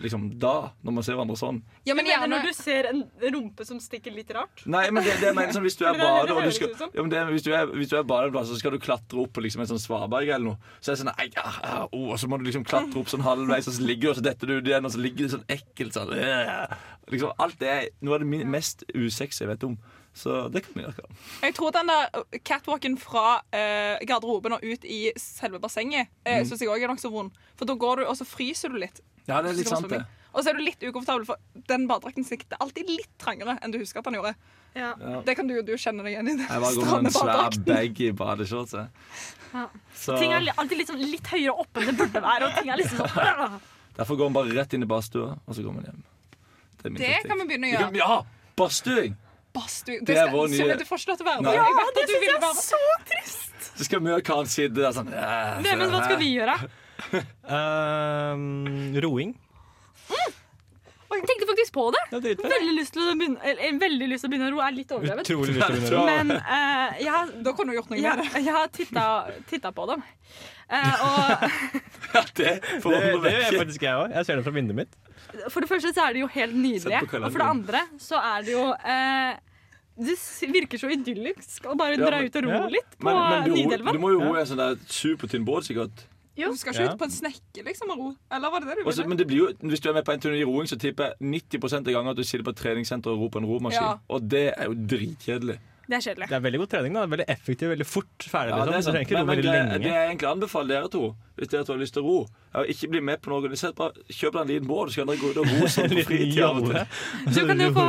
Speaker 3: Liksom da, når man ser hverandre sånn.
Speaker 4: Ja,
Speaker 5: Men
Speaker 4: men
Speaker 5: gjerne
Speaker 4: gjerne
Speaker 5: når du ser en rumpe som stikker litt rart.
Speaker 3: Nei, men det, det jeg mener sånn, hvis du
Speaker 5: For
Speaker 3: er
Speaker 5: det er det
Speaker 3: bader og du
Speaker 5: det
Speaker 3: skal,
Speaker 5: høres ut som.
Speaker 3: ja, men det, hvis du er, hvis du er badeplass, så skal du klatre opp på liksom en sånn svaberg eller noe. Så er det sånn, «Ei, ah, ah, oh, og så må du liksom klatre opp sånn halvveis, og så ligger du, og så detter du ut igjen, og så ligger det sånn ekkelt sånn. øh. Liksom, alt det er noe av det min, mest usexy jeg vet om. Så det kan vi gjøre.
Speaker 4: Jeg tror den der uh, catwalken fra eh, garderoben og ut i selve bassenget uh, syns jeg òg er nokså vond. For da går du, og så fryser du litt.
Speaker 3: Ja, Mm. det er litt sant det.
Speaker 4: Og så er du litt ukomfortabel, for den badedrakten sikter alltid litt trangere enn du husker at den gjorde.
Speaker 5: Ja.
Speaker 4: Det kan du jo du kjenner deg igjen i. den
Speaker 3: Jeg bare går med
Speaker 4: stramme
Speaker 3: en svær
Speaker 4: badedrakten.
Speaker 3: baggy badeshorts. jeg.
Speaker 5: Ja.
Speaker 3: Så
Speaker 5: Ting er li- alltid litt, sånn, litt høyere oppe enn det burde være. Og ting er liksom sånn øh.
Speaker 3: derfor går man bare rett inn i badstua, og så går man hjem. Det, er min
Speaker 4: Det
Speaker 3: taktikk.
Speaker 4: kan vi begynne å
Speaker 3: Vi
Speaker 4: gjøre.
Speaker 3: kan- Ja! Badstuing!
Speaker 4: Bastu. Det,
Speaker 3: Det er
Speaker 4: skal-
Speaker 3: vår nye-
Speaker 4: Silje, Du får ikke lov til å være
Speaker 3: Nei.
Speaker 4: med. Jeg vet
Speaker 5: Det
Speaker 4: at du
Speaker 5: syns
Speaker 4: vil
Speaker 5: jeg er
Speaker 4: være
Speaker 5: så trist!
Speaker 3: Så skal vi og Karen sitte der sånn. «Æ,
Speaker 5: Nei, men hva skal vi gjøre?
Speaker 7: Ehm, roing.
Speaker 5: Jeg tenkte faktisk på det.
Speaker 7: Ja, dritfett.
Speaker 5: Veldig lyst til å begynne, eller, eh, veldig lyst til å begynne å ro er litt overdrevet.
Speaker 7: Utrolig lyst til å begynne å roe.
Speaker 5: Men eh, jeg, har-
Speaker 4: sånn. Da kunne du gjort noe med det.
Speaker 5: jeg, jeg har titta, titta på dem. Eh, og
Speaker 3: Det
Speaker 7: Det,
Speaker 3: forandrer
Speaker 7: det gjør
Speaker 3: vekk.
Speaker 7: faktisk jeg òg. Jeg ser det fra vinduet mitt.
Speaker 5: for det første så er de jo helt nydelige.
Speaker 3: Sett på kalenderen.
Speaker 5: Og for det andre så er det jo eh, Det s- virker så idyllisk å bare
Speaker 3: Ja,
Speaker 5: dra
Speaker 3: men-
Speaker 5: ut og ro
Speaker 7: ja.
Speaker 5: litt på
Speaker 3: Men, men du, ro-
Speaker 5: Nidelva.
Speaker 3: du må jo ro i en sånn der supertynn båt, sikkert.
Speaker 5: Jo.
Speaker 4: Du skal ikke
Speaker 7: Ja.
Speaker 4: ut på en snekke liksom, og ro. Eller var det det du
Speaker 3: Også,
Speaker 4: ville?
Speaker 3: men det blir jo, hvis du er med på en turné i roing, så tipper jeg 90 av gangene at du sitter på et treningssenter og ror på en romaskin.
Speaker 4: Ja.
Speaker 3: Og det er jo dritkjedelig.
Speaker 5: Det er kjedelig.
Speaker 7: Det er veldig god trening. da Veldig effektiv, veldig fort ferdig.
Speaker 3: Ja, det er
Speaker 7: liksom. Du
Speaker 3: sant.
Speaker 7: trenger ikke
Speaker 3: Men,
Speaker 7: ro
Speaker 3: men
Speaker 7: veldig
Speaker 3: det, det
Speaker 7: lenge.
Speaker 3: jeg egentlig anbefaler dere to, hvis dere to har lyst til å ro er å Ikke bli med på noe organisert. Bare kjøp deg en liten båt, så kan dere gå ut og ro sånn på
Speaker 7: Litt
Speaker 3: fritida. av og til.
Speaker 7: jolle.
Speaker 5: Du kan jo få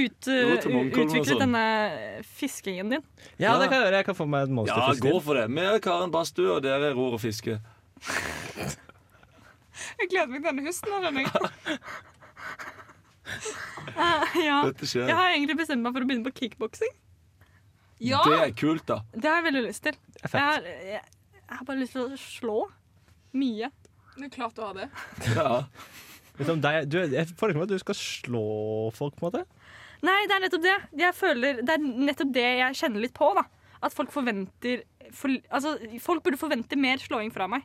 Speaker 5: ut, eh,
Speaker 3: Ro til Munkholm og
Speaker 5: utvikle
Speaker 3: sånn.
Speaker 5: denne fiskingen din.
Speaker 7: Ja, det kan jeg gjøre. Jeg kan få meg en
Speaker 3: Ja,
Speaker 7: monsterfisk.
Speaker 3: gå
Speaker 7: til.
Speaker 3: for det. Vi er Karen Badstue, og dere ror og fisker.
Speaker 4: Jeg gleder meg til denne høsten. da, skjønner jeg.
Speaker 5: Eh, ja.
Speaker 3: Dette skjer.
Speaker 5: Jeg har egentlig bestemt meg for å begynne på kickboksing.
Speaker 4: Ja!
Speaker 3: Det er kult, da.
Speaker 5: Det har jeg veldig lyst til. Jeg
Speaker 7: fett.
Speaker 5: har, jeg, jeg har bare lyst til å slå mye.
Speaker 4: Det er klart du har det.
Speaker 3: Ja.
Speaker 7: Vet du om Liksom, deg, du, jeg får ikke med at du skal slå folk, på en måte.
Speaker 5: Nei, det er nettopp det. Jeg føler, det er nettopp det jeg kjenner litt på. da. At folk forventer for, Altså, folk burde forvente mer slåing fra meg.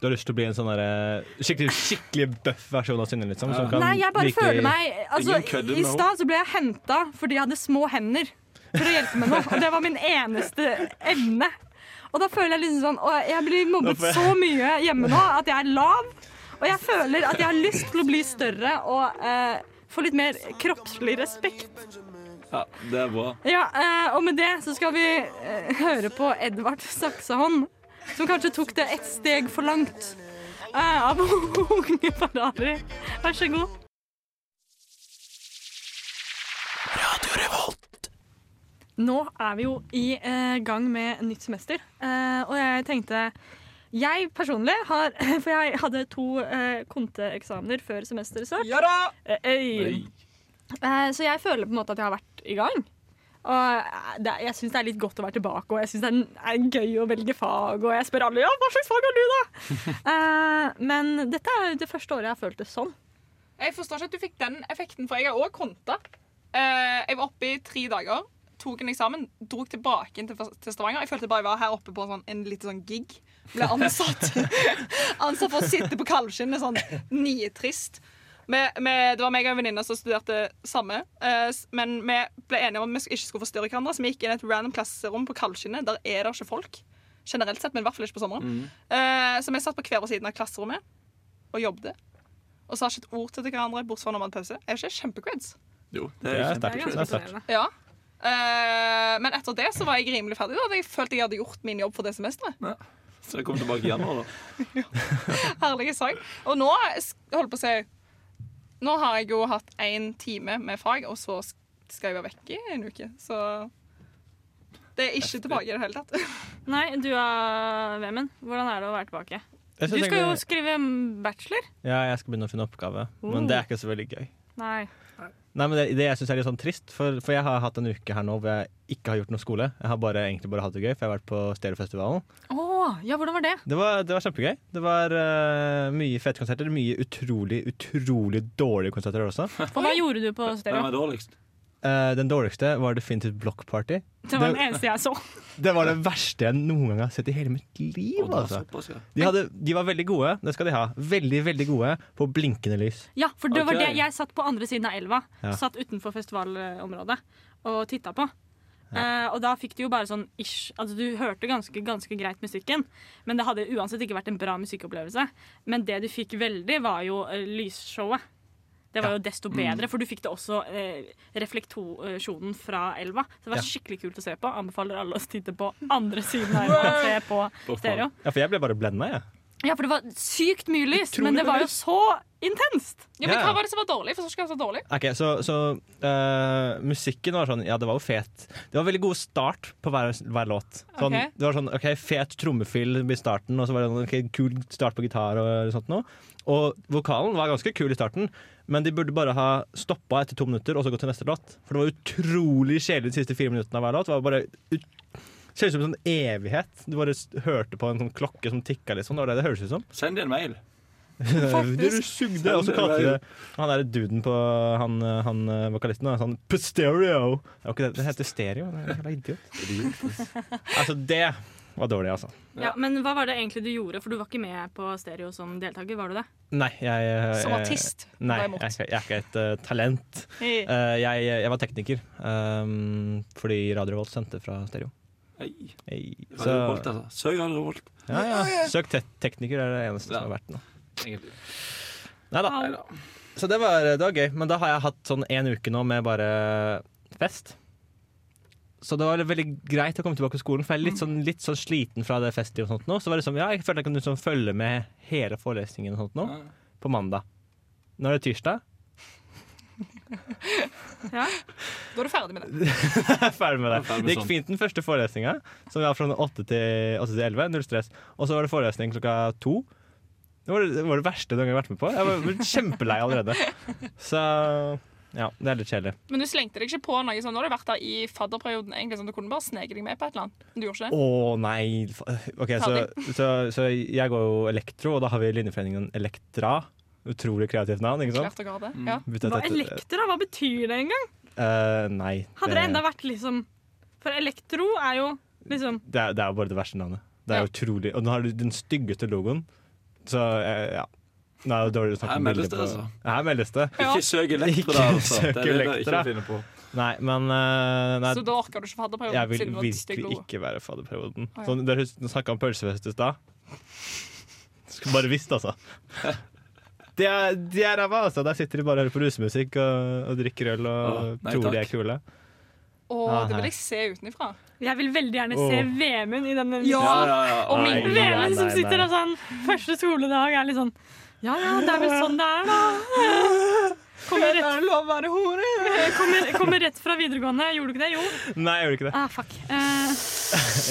Speaker 7: Du har lyst til å bli en sånn derre skikkelig, skikkelig bøff versjon av Synne? Liksom, som kan
Speaker 5: Nei, jeg bare
Speaker 7: virkelig-
Speaker 5: føler meg altså,
Speaker 3: Ingen kødder
Speaker 5: I
Speaker 3: med
Speaker 5: stad så ble jeg henta fordi jeg hadde små hender for å hjelpe meg nå. Og det var min eneste evne. Og da føler jeg liksom sånn å, Jeg blir mobbet
Speaker 7: Nå får jeg-
Speaker 5: så mye hjemme nå at jeg er lav. Og jeg føler at jeg har lyst til å bli større og eh, få litt mer kroppslig respekt.
Speaker 3: ja, det er bra.
Speaker 5: Ja, eh, og med det så skal vi eh, høre på Edvard Saksehånd, som kanskje tok det ett steg for langt. eh, av unge Ferrari. Vær så god. Nå er vi jo i eh, gang med nytt semester, eh, og jeg tenkte Jeg personlig har For jeg hadde to eh, konteeksamener før semesteret start.
Speaker 1: Ja da!
Speaker 5: Eh, øy. Eh, så jeg føler på en måte at jeg har vært i gang. Og eh, det, er- jeg syns det er litt godt å være tilbake, og jeg syns det er, er gøy å velge fag. Og jeg spør alle ja, hva slags fag har du, da? Eh, men dette er jo det første året jeg har følt det sånn.
Speaker 4: Jeg forstår ikke at du fikk den effekten, for jeg har òg konta. Eh, jeg var oppe i tre dager, tok en eksamen, dro tilbake inn til, til Stavanger. Jeg følte bare jeg var her oppe på sånn, en liten sånn gig. Ble ansatt Ansatt for å sitte på kalvskinnet sånn nitrist. Vi- vi- det var meg og en venninne som studerte samme, eh, s- men vi ble enige om at vi ikke skulle forstyrre hverandre, så vi gikk inn i et random klasserom på kalvskinnet. Der er det ikke folk. Generelt sett, men i hvert fall ikke på sommeren. Eh, så vi satt på hver vår siden av klasserommet og jobbet. Og sa ikke et ord til hverandre, bortsett fra når man hadde pause. Er ikke det kjempecrids?
Speaker 3: Jo, det er
Speaker 7: Det er
Speaker 3: kjempe-
Speaker 7: sterkt. Det er sterkt.
Speaker 4: Ja. Eh, men etter det så var jeg rimelig ferdig. da Jeg følte jeg hadde gjort min jobb for det semesteret.
Speaker 3: Så jeg kommer tilbake i januar, da.
Speaker 4: Herlig sak. Og nå s- holdt på å si Nå har jeg jo hatt én time med fag, og så s- skal jeg være vekke i en uke. Så det er ikke tilbake i det hele tatt.
Speaker 5: Nei, du er Vemund. Hvordan er det å være tilbake?
Speaker 7: Jeg
Speaker 5: Du
Speaker 7: synes
Speaker 5: skal jo
Speaker 7: egentlig-
Speaker 5: skrive bachelor.
Speaker 7: Ja, jeg skal begynne å finne oppgave, men
Speaker 5: Oh.
Speaker 7: det er ikke så veldig gøy.
Speaker 5: Nei.
Speaker 7: Nei, men det, det jeg synes er litt sånn trist, for, for jeg har hatt en uke her nå hvor jeg ikke har gjort noe skole. Jeg har bare, egentlig bare hatt det gøy, for jeg har vært på Stereofestivalen.
Speaker 5: Å, ja, hvordan var det?
Speaker 7: Det var, det var kjempegøy. Det var eh, mye fete konserter. Mye utrolig, utrolig dårlige konserter også.
Speaker 5: For hva gjorde du på
Speaker 3: Hvem
Speaker 5: stereo?
Speaker 3: er dårligst?
Speaker 7: Eh, den dårligste var definitivt Block Party.
Speaker 5: Det var
Speaker 7: det-
Speaker 5: den eneste jeg så.
Speaker 7: Det var det verste jeg noen gang har sett i hele mitt liv.
Speaker 3: Å, det var
Speaker 7: altså.
Speaker 3: såpass, ja.
Speaker 7: de, hadde, de var veldig gode, det skal de ha. Veldig, veldig gode på blinkende lys.
Speaker 5: Ja, for det var
Speaker 3: Ok.
Speaker 5: det jeg satt på andre siden av elva.
Speaker 7: Ja.
Speaker 5: Satt utenfor festivalområdet og titta på. Eh, og da fikk du jo bare sånn ish Altså Du hørte ganske, ganske greit musikken, men det hadde uansett ikke vært en bra musikkopplevelse. Men det du fikk veldig, var jo eh, lysshowet. Det var jo
Speaker 7: Mm.
Speaker 5: desto bedre, for du fikk det også eh, refleksjonen fra elva. Så det var
Speaker 7: Ja.
Speaker 5: skikkelig kult å se på. Anbefaler alle å titte på andre siden av elva og se på
Speaker 3: Block
Speaker 5: stereo.
Speaker 7: Ja, for jeg ble bare blenda, jeg.
Speaker 5: Ja, for det var sykt mye lys,
Speaker 7: Utrolig
Speaker 5: men det var
Speaker 7: mye
Speaker 5: jo så intenst!
Speaker 4: Ja, men
Speaker 7: Ja.
Speaker 4: Hva var det som var dårlig? For så skal jeg være dårlig
Speaker 7: Ok, Så, så eh, musikken var sånn Ja, det var jo fet. Det var veldig god start på hver, hver låt. Sånn,
Speaker 4: Ok.
Speaker 7: Det var sånn ok, fet trommefyll i starten, og så var det en kul start på gitar og sånt noe. Og vokalen var ganske kul i starten, men de burde bare ha stoppa etter to minutter og så gått til neste låt. For det var utrolig kjedelig de siste fire minuttene av hver låt. Det var bare ut Ser ut som en sånn evighet. Du bare s- hørte på en sånn klokke som tikka litt sånn. Det var det det høres ut som.
Speaker 3: Send dem en mail.
Speaker 7: Du sugde, og så kalte de det Han derre duden på han, han eh, vokalisten, da, sånn Pustereo! Det var ikke det, det heter stereo. Det er en jævla idiot. Altså, det var dårlig, altså.
Speaker 5: Ja, Men hva var det egentlig du gjorde? For du var ikke med på stereo som deltaker, var du det?
Speaker 7: Nei, jeg eh,
Speaker 4: som artist.
Speaker 7: Nei,
Speaker 4: var jeg
Speaker 7: jeg,
Speaker 4: imot.
Speaker 7: er ikke- jeg er ikke et eh, talent. Eh, jeg, jeg var tekniker ehm, fordi Radio Volt sendte fra stereo.
Speaker 3: Nei,
Speaker 7: Ei,
Speaker 3: Radio Revolt, altså. Søk Radio Revolt.
Speaker 7: ja, ja. Søk te tekniker er det eneste som er verdt noe.
Speaker 3: Egentlig.
Speaker 7: Nei da. Så det var, det var gøy. Men da har jeg hatt sånn en uke nå med bare fest. Så det var veldig greit å komme tilbake på skolen, for jeg er
Speaker 3: Mm.
Speaker 7: litt sånn, litt sånn sliten fra det festet. og sånt nå. Så var det sånn, ja, jeg følte jeg kunne liksom følge med hele forelesningen og sånt nå,
Speaker 3: Ja.
Speaker 7: på mandag. Nå er det tirsdag.
Speaker 4: Da er du ferdig med det.
Speaker 7: Jeg er ferdig med det.
Speaker 3: Jeg er ferdig med
Speaker 7: Det gikk
Speaker 3: sånn.
Speaker 7: fint den første forelesninga, som var fra 8 til, 8 til 11. Null stress. Og så var det forelesning klokka to. Det var det, var det verste noen gang jeg har vært med på. Jeg var var kjempelei allerede. Så ja, det er litt kjedelig.
Speaker 4: Men du slengte deg ikke på noe sånn. Nå har du vært der i fadderperioden. egentlig, sånn Du kunne bare sneke deg med på et eller annet. Men du gjorde ikke det.
Speaker 7: Å nei fa- Ok, så,
Speaker 4: Ferdig.
Speaker 7: så, så jeg går jo elektro, og da har vi linjeforeningen Elektra. Utrolig kreativt navn, ikke sant?
Speaker 4: Klart dere har det. Ja.
Speaker 7: Bytte
Speaker 5: Hva
Speaker 7: et-
Speaker 5: elektra? Hva betyr det engang?
Speaker 7: Eh, nei.
Speaker 5: Hadde det enda vært liksom For elektro er jo liksom
Speaker 7: det, er, det er jo bare det verste navnet. Det er
Speaker 4: Ja.
Speaker 7: utrolig Og nå har du den styggeste logoen, så eh, ja. Nå er det dårlig å snakke
Speaker 3: Her
Speaker 7: om
Speaker 3: meldes
Speaker 7: bilder
Speaker 3: det,
Speaker 7: på-
Speaker 3: altså.
Speaker 7: Her meldes det.
Speaker 3: Ikke søk Elektra,
Speaker 7: Ikke
Speaker 3: da, altså.
Speaker 7: søk
Speaker 3: Det er det jeg
Speaker 7: Elektra.
Speaker 3: ikke finner på.
Speaker 7: Nei, men eh, nei,
Speaker 4: Så da orker du ikke fadderperioden.
Speaker 7: Jeg vil
Speaker 4: siden du var et stygg
Speaker 7: virkelig
Speaker 4: logo.
Speaker 7: ikke være fadderperioden.
Speaker 4: Å, ja.
Speaker 7: Sånn, Dere snakka om pølsefest i stad. Skulle bare visst, altså. Det er det er ræva, altså. Der sitter de bare og hører på rusmusikk og, og drikker øl og
Speaker 3: Å, nei,
Speaker 7: tror de
Speaker 3: takk.
Speaker 7: er kule.
Speaker 4: Å,
Speaker 7: Ah,
Speaker 4: det
Speaker 7: nei.
Speaker 4: vil jeg se utenfra.
Speaker 5: Jeg vil veldig gjerne se
Speaker 7: Åh.
Speaker 5: Vemund i denne
Speaker 4: Ja.
Speaker 3: Ja, ja, ja.
Speaker 4: Og
Speaker 3: Nei.
Speaker 4: min-
Speaker 7: nei,
Speaker 5: Vemund som
Speaker 7: nei,
Speaker 5: sitter
Speaker 7: nei.
Speaker 5: og sånn Første skoledag er litt sånn Ja ja, det er vel sånn det er, da. Kommer rett, kommer, kommer rett fra videregående. Gjorde du ikke det? Jo.
Speaker 7: Nei, jeg gjorde ikke det.
Speaker 5: Ah, fuck. Eh,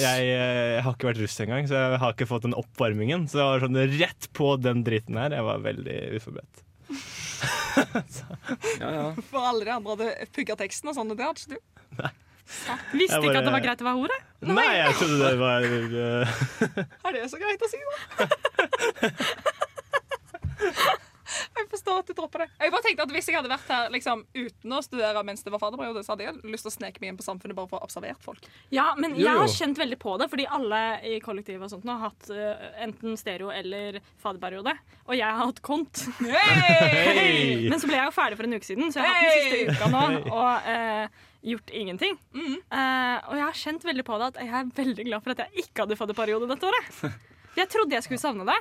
Speaker 7: Jeg, eh, har ikke vært russ engang, så jeg har ikke fått den oppvarmingen. Så det var sånn rett på den dritten her. Jeg var veldig uforberedt.
Speaker 3: Ja, ja.
Speaker 4: For alle de andre hadde pugga teksten og sånn. og Det hadde ikke du.
Speaker 5: Visste
Speaker 7: Jeg
Speaker 5: ikke
Speaker 7: bare-
Speaker 5: at det var greit å være hore.
Speaker 7: Nei, jeg trodde det var eh,
Speaker 4: Er det så greit å si, da? Jeg forstår at du dropper det. Jeg bare tenkte at Hvis jeg hadde vært her liksom, uten å studere mens det var fadderperiode, så hadde jeg lyst til å sneke meg inn på samfunnet bare for å ha observert folk.
Speaker 5: Ja, men
Speaker 3: Jo,
Speaker 5: jeg
Speaker 3: jo.
Speaker 5: har kjent veldig på det, fordi alle i kollektivet og sånt nå har hatt eh, enten stereo eller fadderperiode. Og jeg har hatt kont.
Speaker 7: Hei!
Speaker 5: Men så ble jeg jo ferdig for en uke siden, så jeg har hatt den siste uka nå og eh, gjort ingenting. Eh,
Speaker 3: Mm.
Speaker 5: og jeg har kjent veldig på det at jeg er veldig glad for at jeg ikke hadde fadderperiode dette året. Jeg trodde jeg skulle savne det.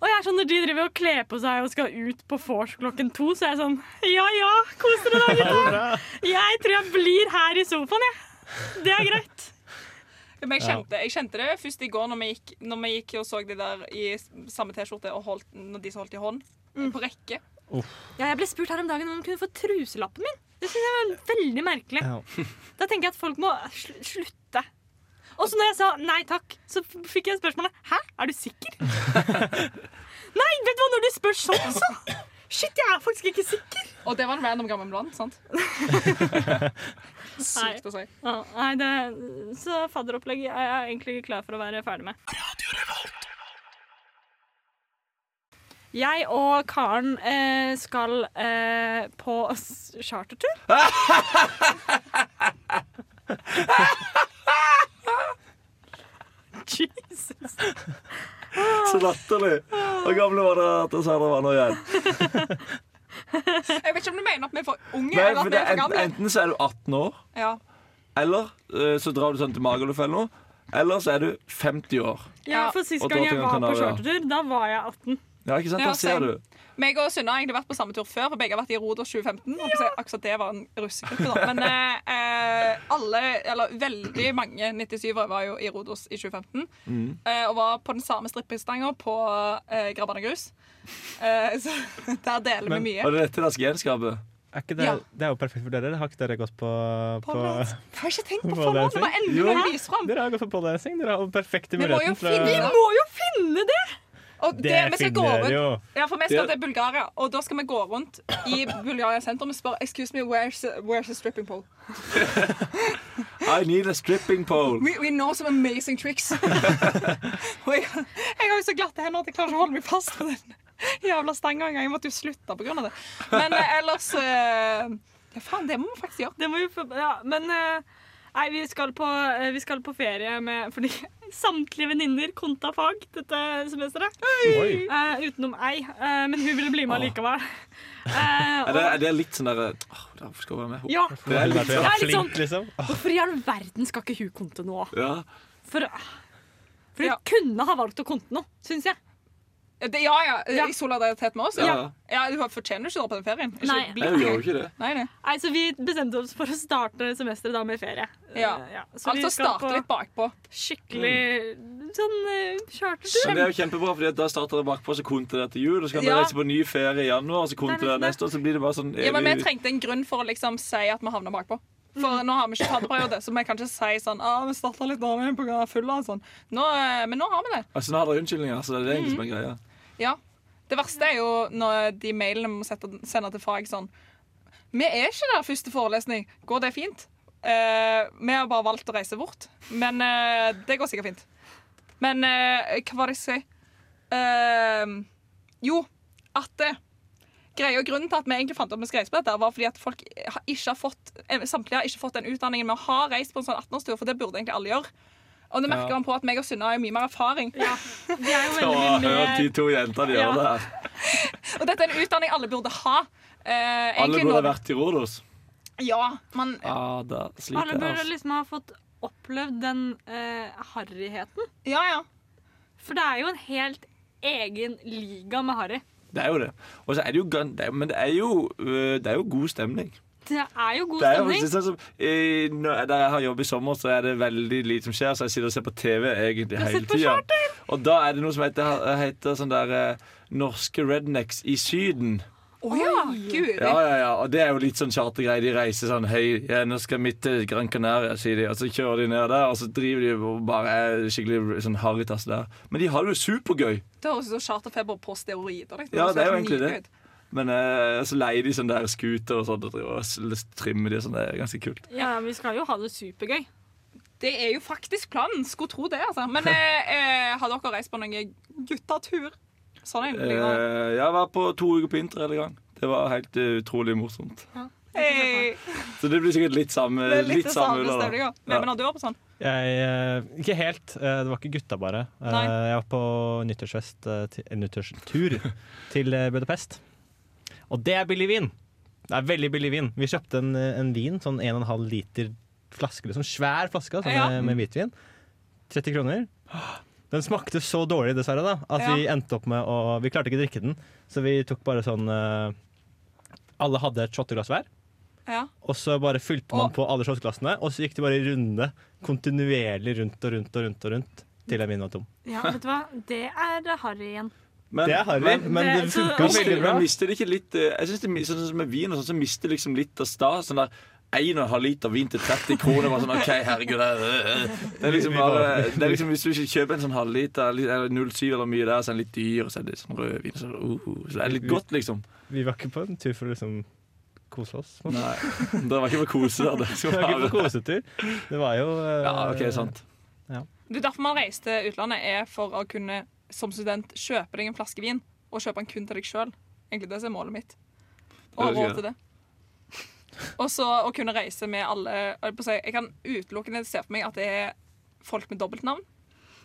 Speaker 5: Og jeg er sånn, Når de driver og kler på seg og skal ut på vors klokken to, så er jeg sånn Ja ja, kos dere da, gutta. Jeg tror jeg blir her i sofaen, jeg. Det er greit.
Speaker 4: Men jeg kjente, jeg kjente det først i går når vi gikk, når vi gikk og så de der i samme T-skjorte og holdt, når de som holdt i hånd, på rekke.
Speaker 5: Ja, jeg ble spurt her om dagen om hun kunne få truselappen min. Det synes jeg var veldig merkelig.
Speaker 7: Ja.
Speaker 5: Da tenker jeg at folk må sl slutte. Og så når jeg sa nei takk, så f- fikk jeg spørsmålet Hæ, er du sikker? nei, vet du hva, når du spør sånn, så Shit, jeg er faktisk ikke sikker.
Speaker 4: Og det var en random gammel mann, sant? Sykt å si.
Speaker 5: Ja, nei, det, så fadderopplegg er jeg egentlig ikke klar for å være ferdig med. Jeg og Karen eh, skal eh, på s- chartertur. Jesus.
Speaker 3: Så latterlig. Hvor gamle var dere at Sandra var nå igjen?
Speaker 4: Jeg vet ikke om du mener at vi er for unge
Speaker 3: Nei, for
Speaker 4: eller at vi
Speaker 3: det,
Speaker 4: er for
Speaker 3: enten,
Speaker 4: gamle.
Speaker 3: enten så er du 18 år,
Speaker 4: Ja.
Speaker 3: eller eh, så drar du sånn til Magaluf eller noe. Eller så er du 50 år.
Speaker 5: Ja, for sist
Speaker 3: Og
Speaker 5: gang jeg
Speaker 3: Tortuga
Speaker 5: var på
Speaker 3: Canaria.
Speaker 5: chartertur, da var jeg 18.
Speaker 3: Ja, ikke sant?
Speaker 4: Ja,
Speaker 3: Da ser
Speaker 4: same.
Speaker 3: du.
Speaker 4: Meg og Sunna har egentlig vært på samme tur før, for begge har vært i Rodos 2015. Håper jeg akkurat det var en russegruppe, da. Men eh, eh, alle, eller veldig mange 97-ere var jo i Rodos i 2015.
Speaker 7: Mm.
Speaker 4: Eh, og var på den samme strippestanga på eh, Grabbane grus. Eh, så der deler
Speaker 7: Men-
Speaker 4: vi mye.
Speaker 3: Og det er dette deres genskapet.
Speaker 7: Er ikke det,
Speaker 4: Ja.
Speaker 7: det er jo perfekt for dere. Har ikke dere gått på, på
Speaker 4: Pålagt. Jeg har ikke tenkt på
Speaker 7: Hva
Speaker 4: forhånd.
Speaker 7: det er
Speaker 4: Det var
Speaker 7: Jo.
Speaker 4: endelig noe å vise fram.
Speaker 7: Dere har gått på pådancing. Dere har jo perfekte
Speaker 4: Vi må jo
Speaker 7: muligheten
Speaker 4: finne
Speaker 7: å-
Speaker 4: det.
Speaker 5: Må jo finne det!
Speaker 4: Og det,
Speaker 7: Det
Speaker 4: vi skal gå
Speaker 7: finner
Speaker 4: rundt
Speaker 7: jo.
Speaker 4: Ja, for vi skal
Speaker 3: Det-
Speaker 4: til Bulgaria, og da skal vi gå rundt i Bulgaria sentrum og spørre Excuse me, where's, where's the stripping pole?
Speaker 3: I need a stripping pole.
Speaker 4: We, we know some amazing tricks. og jeg, jeg har jo så glatte hender at jeg klarer ikke å holde meg fast på den jævla stanga engang. Jeg måtte jo slutte pga. det. Men eh, ellers eh, Ja, faen, det må vi faktisk gjøre.
Speaker 5: Det må vi få, ja, men eh, nei, vi skal, på, eh, vi skal på ferie med Fordi samtlige venninner konta fag dette semesteret.
Speaker 7: Oi.
Speaker 5: Eh, utenom ei, eh, men hun ville bli med allikevel. Eh,
Speaker 3: Er det,
Speaker 5: og-
Speaker 3: er det litt sånn derre Åh, Derfor skal jeg være med.
Speaker 5: ja,
Speaker 7: Det er litt
Speaker 5: Jeg
Speaker 4: sånn-
Speaker 5: er litt
Speaker 7: flink, liksom. Åh,
Speaker 5: Hvorfor i all verden skal ikke hun konte noe?
Speaker 3: Ja.
Speaker 5: For, for hun
Speaker 4: Ja.
Speaker 5: kunne ha valgt å konte noe, syns jeg.
Speaker 4: Eh, Det, ja, ja,
Speaker 5: Ja.
Speaker 4: I solidaritet med oss.
Speaker 3: Ja.
Speaker 4: ja Du fortjener ikke å dra på den ferien. Ikke
Speaker 5: Nei.
Speaker 4: bli-
Speaker 3: Jeg gjør jo ikke det.
Speaker 4: Nei, nei.
Speaker 5: Nei, så Vi bestemte oss for å starte semesteret da med ferie. Eh,
Speaker 4: Ja.
Speaker 5: Så vi
Speaker 4: Altså
Speaker 5: skal
Speaker 4: starte litt
Speaker 5: på
Speaker 4: bakpå.
Speaker 5: skikkelig sånn eh, chartertur.
Speaker 3: Mm. Men det er jo kjempebra, fordi at da starter det bakpå, så konter det til jul. Og så kan
Speaker 4: Ja.
Speaker 3: dere reise på ny ferie i januar, og så konter
Speaker 5: Nei,
Speaker 3: det
Speaker 5: men-
Speaker 3: neste år. Så blir det bare sånn
Speaker 4: Ja, men Vi
Speaker 3: evig-
Speaker 4: trengte en grunn for å liksom si at vi havna bakpå. For nå har vi ikke fadderperiode, så vi kan ikke si sånn ah, vi starta litt dårlig på grunn av fulla. og Sånn. Nå, eh, men nå har vi det.
Speaker 3: Altså, nå har dere unnskyldninger, så det er det
Speaker 5: Mm.
Speaker 3: egentlig som er greia.
Speaker 4: Ja. Det verste er jo når de mailene vi må sette, sende til fag sånn Vi er ikke der første forelesning. Går det fint? Eh, vi har bare valgt å reise bort. Men eh, det går sikkert fint. Men eh, hva var det jeg skulle si? Eh, jo, at det Greia og grunnen til at vi egentlig fant opp vi skal reise på dette, var fordi at folk har ikke har fått, eh, samtlige har ikke fått den utdanningen vi har reist på en sånn 18-årstur, for det burde egentlig alle gjøre. Og det merker
Speaker 3: Ja.
Speaker 4: man på at meg og Sunna har mye mer erfaring.
Speaker 5: Ja, vi er jo
Speaker 3: Å,
Speaker 5: veldig
Speaker 3: hør de
Speaker 5: med
Speaker 3: to jentene gjøre
Speaker 5: Ja.
Speaker 3: det her.
Speaker 4: Og dette er en utdanning alle burde ha. Eh,
Speaker 3: Alle
Speaker 4: egentlig
Speaker 3: burde
Speaker 4: nå-
Speaker 3: vært i Rodos.
Speaker 4: Ja, men
Speaker 3: Ja, da
Speaker 5: Alle
Speaker 3: sliter jeg.
Speaker 5: burde
Speaker 3: Altså.
Speaker 5: liksom ha fått opplevd den eh, harryheten.
Speaker 4: Ja, ja.
Speaker 5: For det er jo en helt egen liga med harry.
Speaker 3: Det er jo det. Og så er det jo, gan- det er, men det er jo, øh, det er jo god stemning.
Speaker 5: Det er jo god
Speaker 3: Det er jo
Speaker 5: stemning.
Speaker 3: faktisk sånn som, eh, når- Der jeg har jobb i sommer, så er det veldig lite som skjer, så jeg sitter og ser på TV egentlig hele
Speaker 5: sitter på
Speaker 3: tida. Og da er det noe som heter, heter sånn der eh, Norske rednecks i Syden.
Speaker 4: Å ja, gud.
Speaker 3: Ja, ja, ja, og det er jo litt sånn chartergreie. De reiser sånn Hei, ja, nå skal vi til Gran Canaria, sier de. Og så kjører de ned der, og så driver de og bare er skikkelig sånn harrytass der. Men de har det jo supergøy.
Speaker 4: Det høres ut som charterfeber på steroider. liksom.
Speaker 3: Ja, det er jo egentlig det. Men eh, så leier de sånn der scooter og sånt og driver og s- trimmer de og sånn. Det er ganske kult.
Speaker 5: Ja, vi skal jo ha det supergøy.
Speaker 4: Det er jo faktisk planen. Skulle tro det, altså. Men eh, eh, har dere reist på noen guttatur? Sånn egentlig. nå.
Speaker 3: Eh, jeg var på to uker på interrail i gang. Det var helt eh, utrolig morsomt.
Speaker 4: Hey.
Speaker 3: Så det blir sikkert litt Eh, samme
Speaker 4: Det er litt det samme
Speaker 3: ulla, da.
Speaker 4: stemninga.
Speaker 3: Ja.
Speaker 4: Men har du vært på sånn?
Speaker 7: Jeg, eh, ikke helt. eh, Det var ikke gutta, bare. Eh,
Speaker 4: Nei.
Speaker 7: Jeg var på nyttårsfest eh, til, eh, nyttårstur til eh, Budapest. Og det er billig vin! Det er veldig billig vin. Vi kjøpte en, eh, en vin, sånn 1,5 liter flaske, liksom svær flaske altså,
Speaker 4: Ja.
Speaker 7: med, med hvitvin. 30 kroner. Den smakte så dårlig, dessverre, da, at vi endte opp med å Vi klarte ikke å drikke den, så vi tok bare sånn eh, Alle hadde et shotteglass hver.
Speaker 4: Ja.
Speaker 7: Og så bare fylte man
Speaker 4: Og-
Speaker 7: på alle shotglassene, og så gikk de bare i runde. Kontinuerlig rundt og rundt og rundt og rundt. Til en vin var tom.
Speaker 5: Ja, vet du hva? Det er harry igjen.
Speaker 3: Men,
Speaker 7: Det er harry,
Speaker 3: men-
Speaker 7: men det
Speaker 5: Det- så-
Speaker 7: funka
Speaker 3: Mister,
Speaker 7: veldig bra.
Speaker 3: men mister det ikke litt eh, Jeg synes det mi- sånn som med vin og sånn, så mister det liksom litt av stas. Sånn der 1,5 liter vin til 30 kroner. Bare sånn, ok, herregud det er- Det er liksom
Speaker 7: Vi- vi
Speaker 3: bare
Speaker 7: bare-
Speaker 3: det er liksom, Hvis du ikke kjøper en sånn halvliter litt- eller 0,7 eller mye der, så er den litt dyr, og så er det litt sånn rødvin så, uh, uh, så det er litt godt, liksom.
Speaker 7: Vi var ikke på en tur for å liksom kose oss. på en måte.
Speaker 3: Nei, Det var ikke for kose. da. Det
Speaker 7: Vi
Speaker 3: skal
Speaker 7: var ikke på
Speaker 3: bare-
Speaker 7: kosetur. Det var jo eh,
Speaker 3: Ja, OK, sant.
Speaker 4: Du, derfor man reiser til utlandet, er for å kunne som student kjøpe deg en flaske vin. Og kjøpe den kun til deg sjøl. Egentlig det som er målet mitt. Og ha
Speaker 3: Det er
Speaker 4: råd
Speaker 3: gøy.
Speaker 4: til det. Og så å kunne reise med alle Jeg, på å si, jeg kan utelukkende se for meg at det er folk med dobbeltnavn.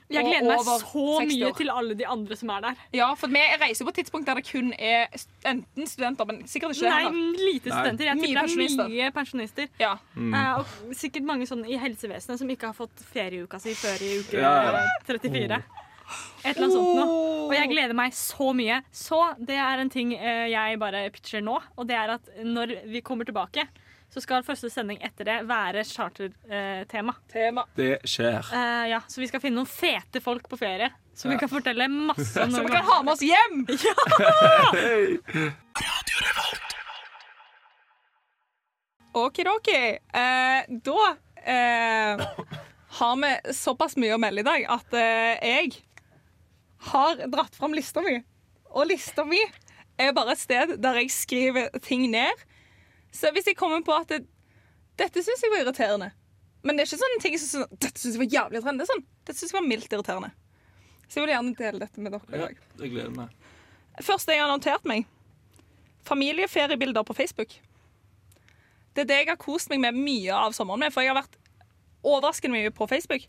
Speaker 5: Jeg
Speaker 4: Og
Speaker 5: gleder meg
Speaker 4: over
Speaker 5: så
Speaker 4: 60
Speaker 5: mye
Speaker 4: år.
Speaker 5: til alle de andre som er der.
Speaker 4: Ja, for vi reiser på et tidspunkt der det kun er st- enten studenter, men sikkert ikke
Speaker 5: Nei,
Speaker 4: heller.
Speaker 5: lite
Speaker 3: Nei.
Speaker 5: studenter. Jeg
Speaker 4: Mye
Speaker 5: tipper det
Speaker 4: pensjonister.
Speaker 5: er mye pensjonister.
Speaker 4: Ja.
Speaker 5: Eh, og sikkert mange sånne i helsevesenet som ikke har fått ferieuka si før i uke
Speaker 3: Ja, ja.
Speaker 5: 34. Et eller annet sånt noe. Og jeg gleder meg så mye. Så det er en ting eh, jeg bare pitcher nå, og det er at når vi kommer tilbake, så skal første sending etter det være chartertema.
Speaker 4: Tema.
Speaker 3: Det skjer.
Speaker 5: Eh, ja, så vi skal finne noen fete folk på ferie som vi
Speaker 3: Ja.
Speaker 5: kan fortelle masse om.
Speaker 4: Så
Speaker 5: når
Speaker 4: vi
Speaker 5: vi
Speaker 4: kan
Speaker 5: kommer.
Speaker 4: ha med oss hjem! Okidoki. Eh, da eh, har vi såpass mye å melde i dag at eh, jeg har dratt fram lista mi. Og lista mi er bare et sted der jeg skriver ting ned. Så hvis jeg kommer på at det, dette syns jeg var irriterende Men det er ikke sånne ting som sånn, dette syns jeg var jævlig irriterende. Det er sånn, dette syns jeg var mildt irriterende. Så jeg vil gjerne dele dette med dere i
Speaker 3: Ja,
Speaker 4: dag.
Speaker 3: jeg gleder meg.
Speaker 4: Først jeg har notert meg. Familieferiebilder på Facebook. Det er det jeg har kost meg med mye av sommeren med, for jeg har vært overraskende mye på Facebook.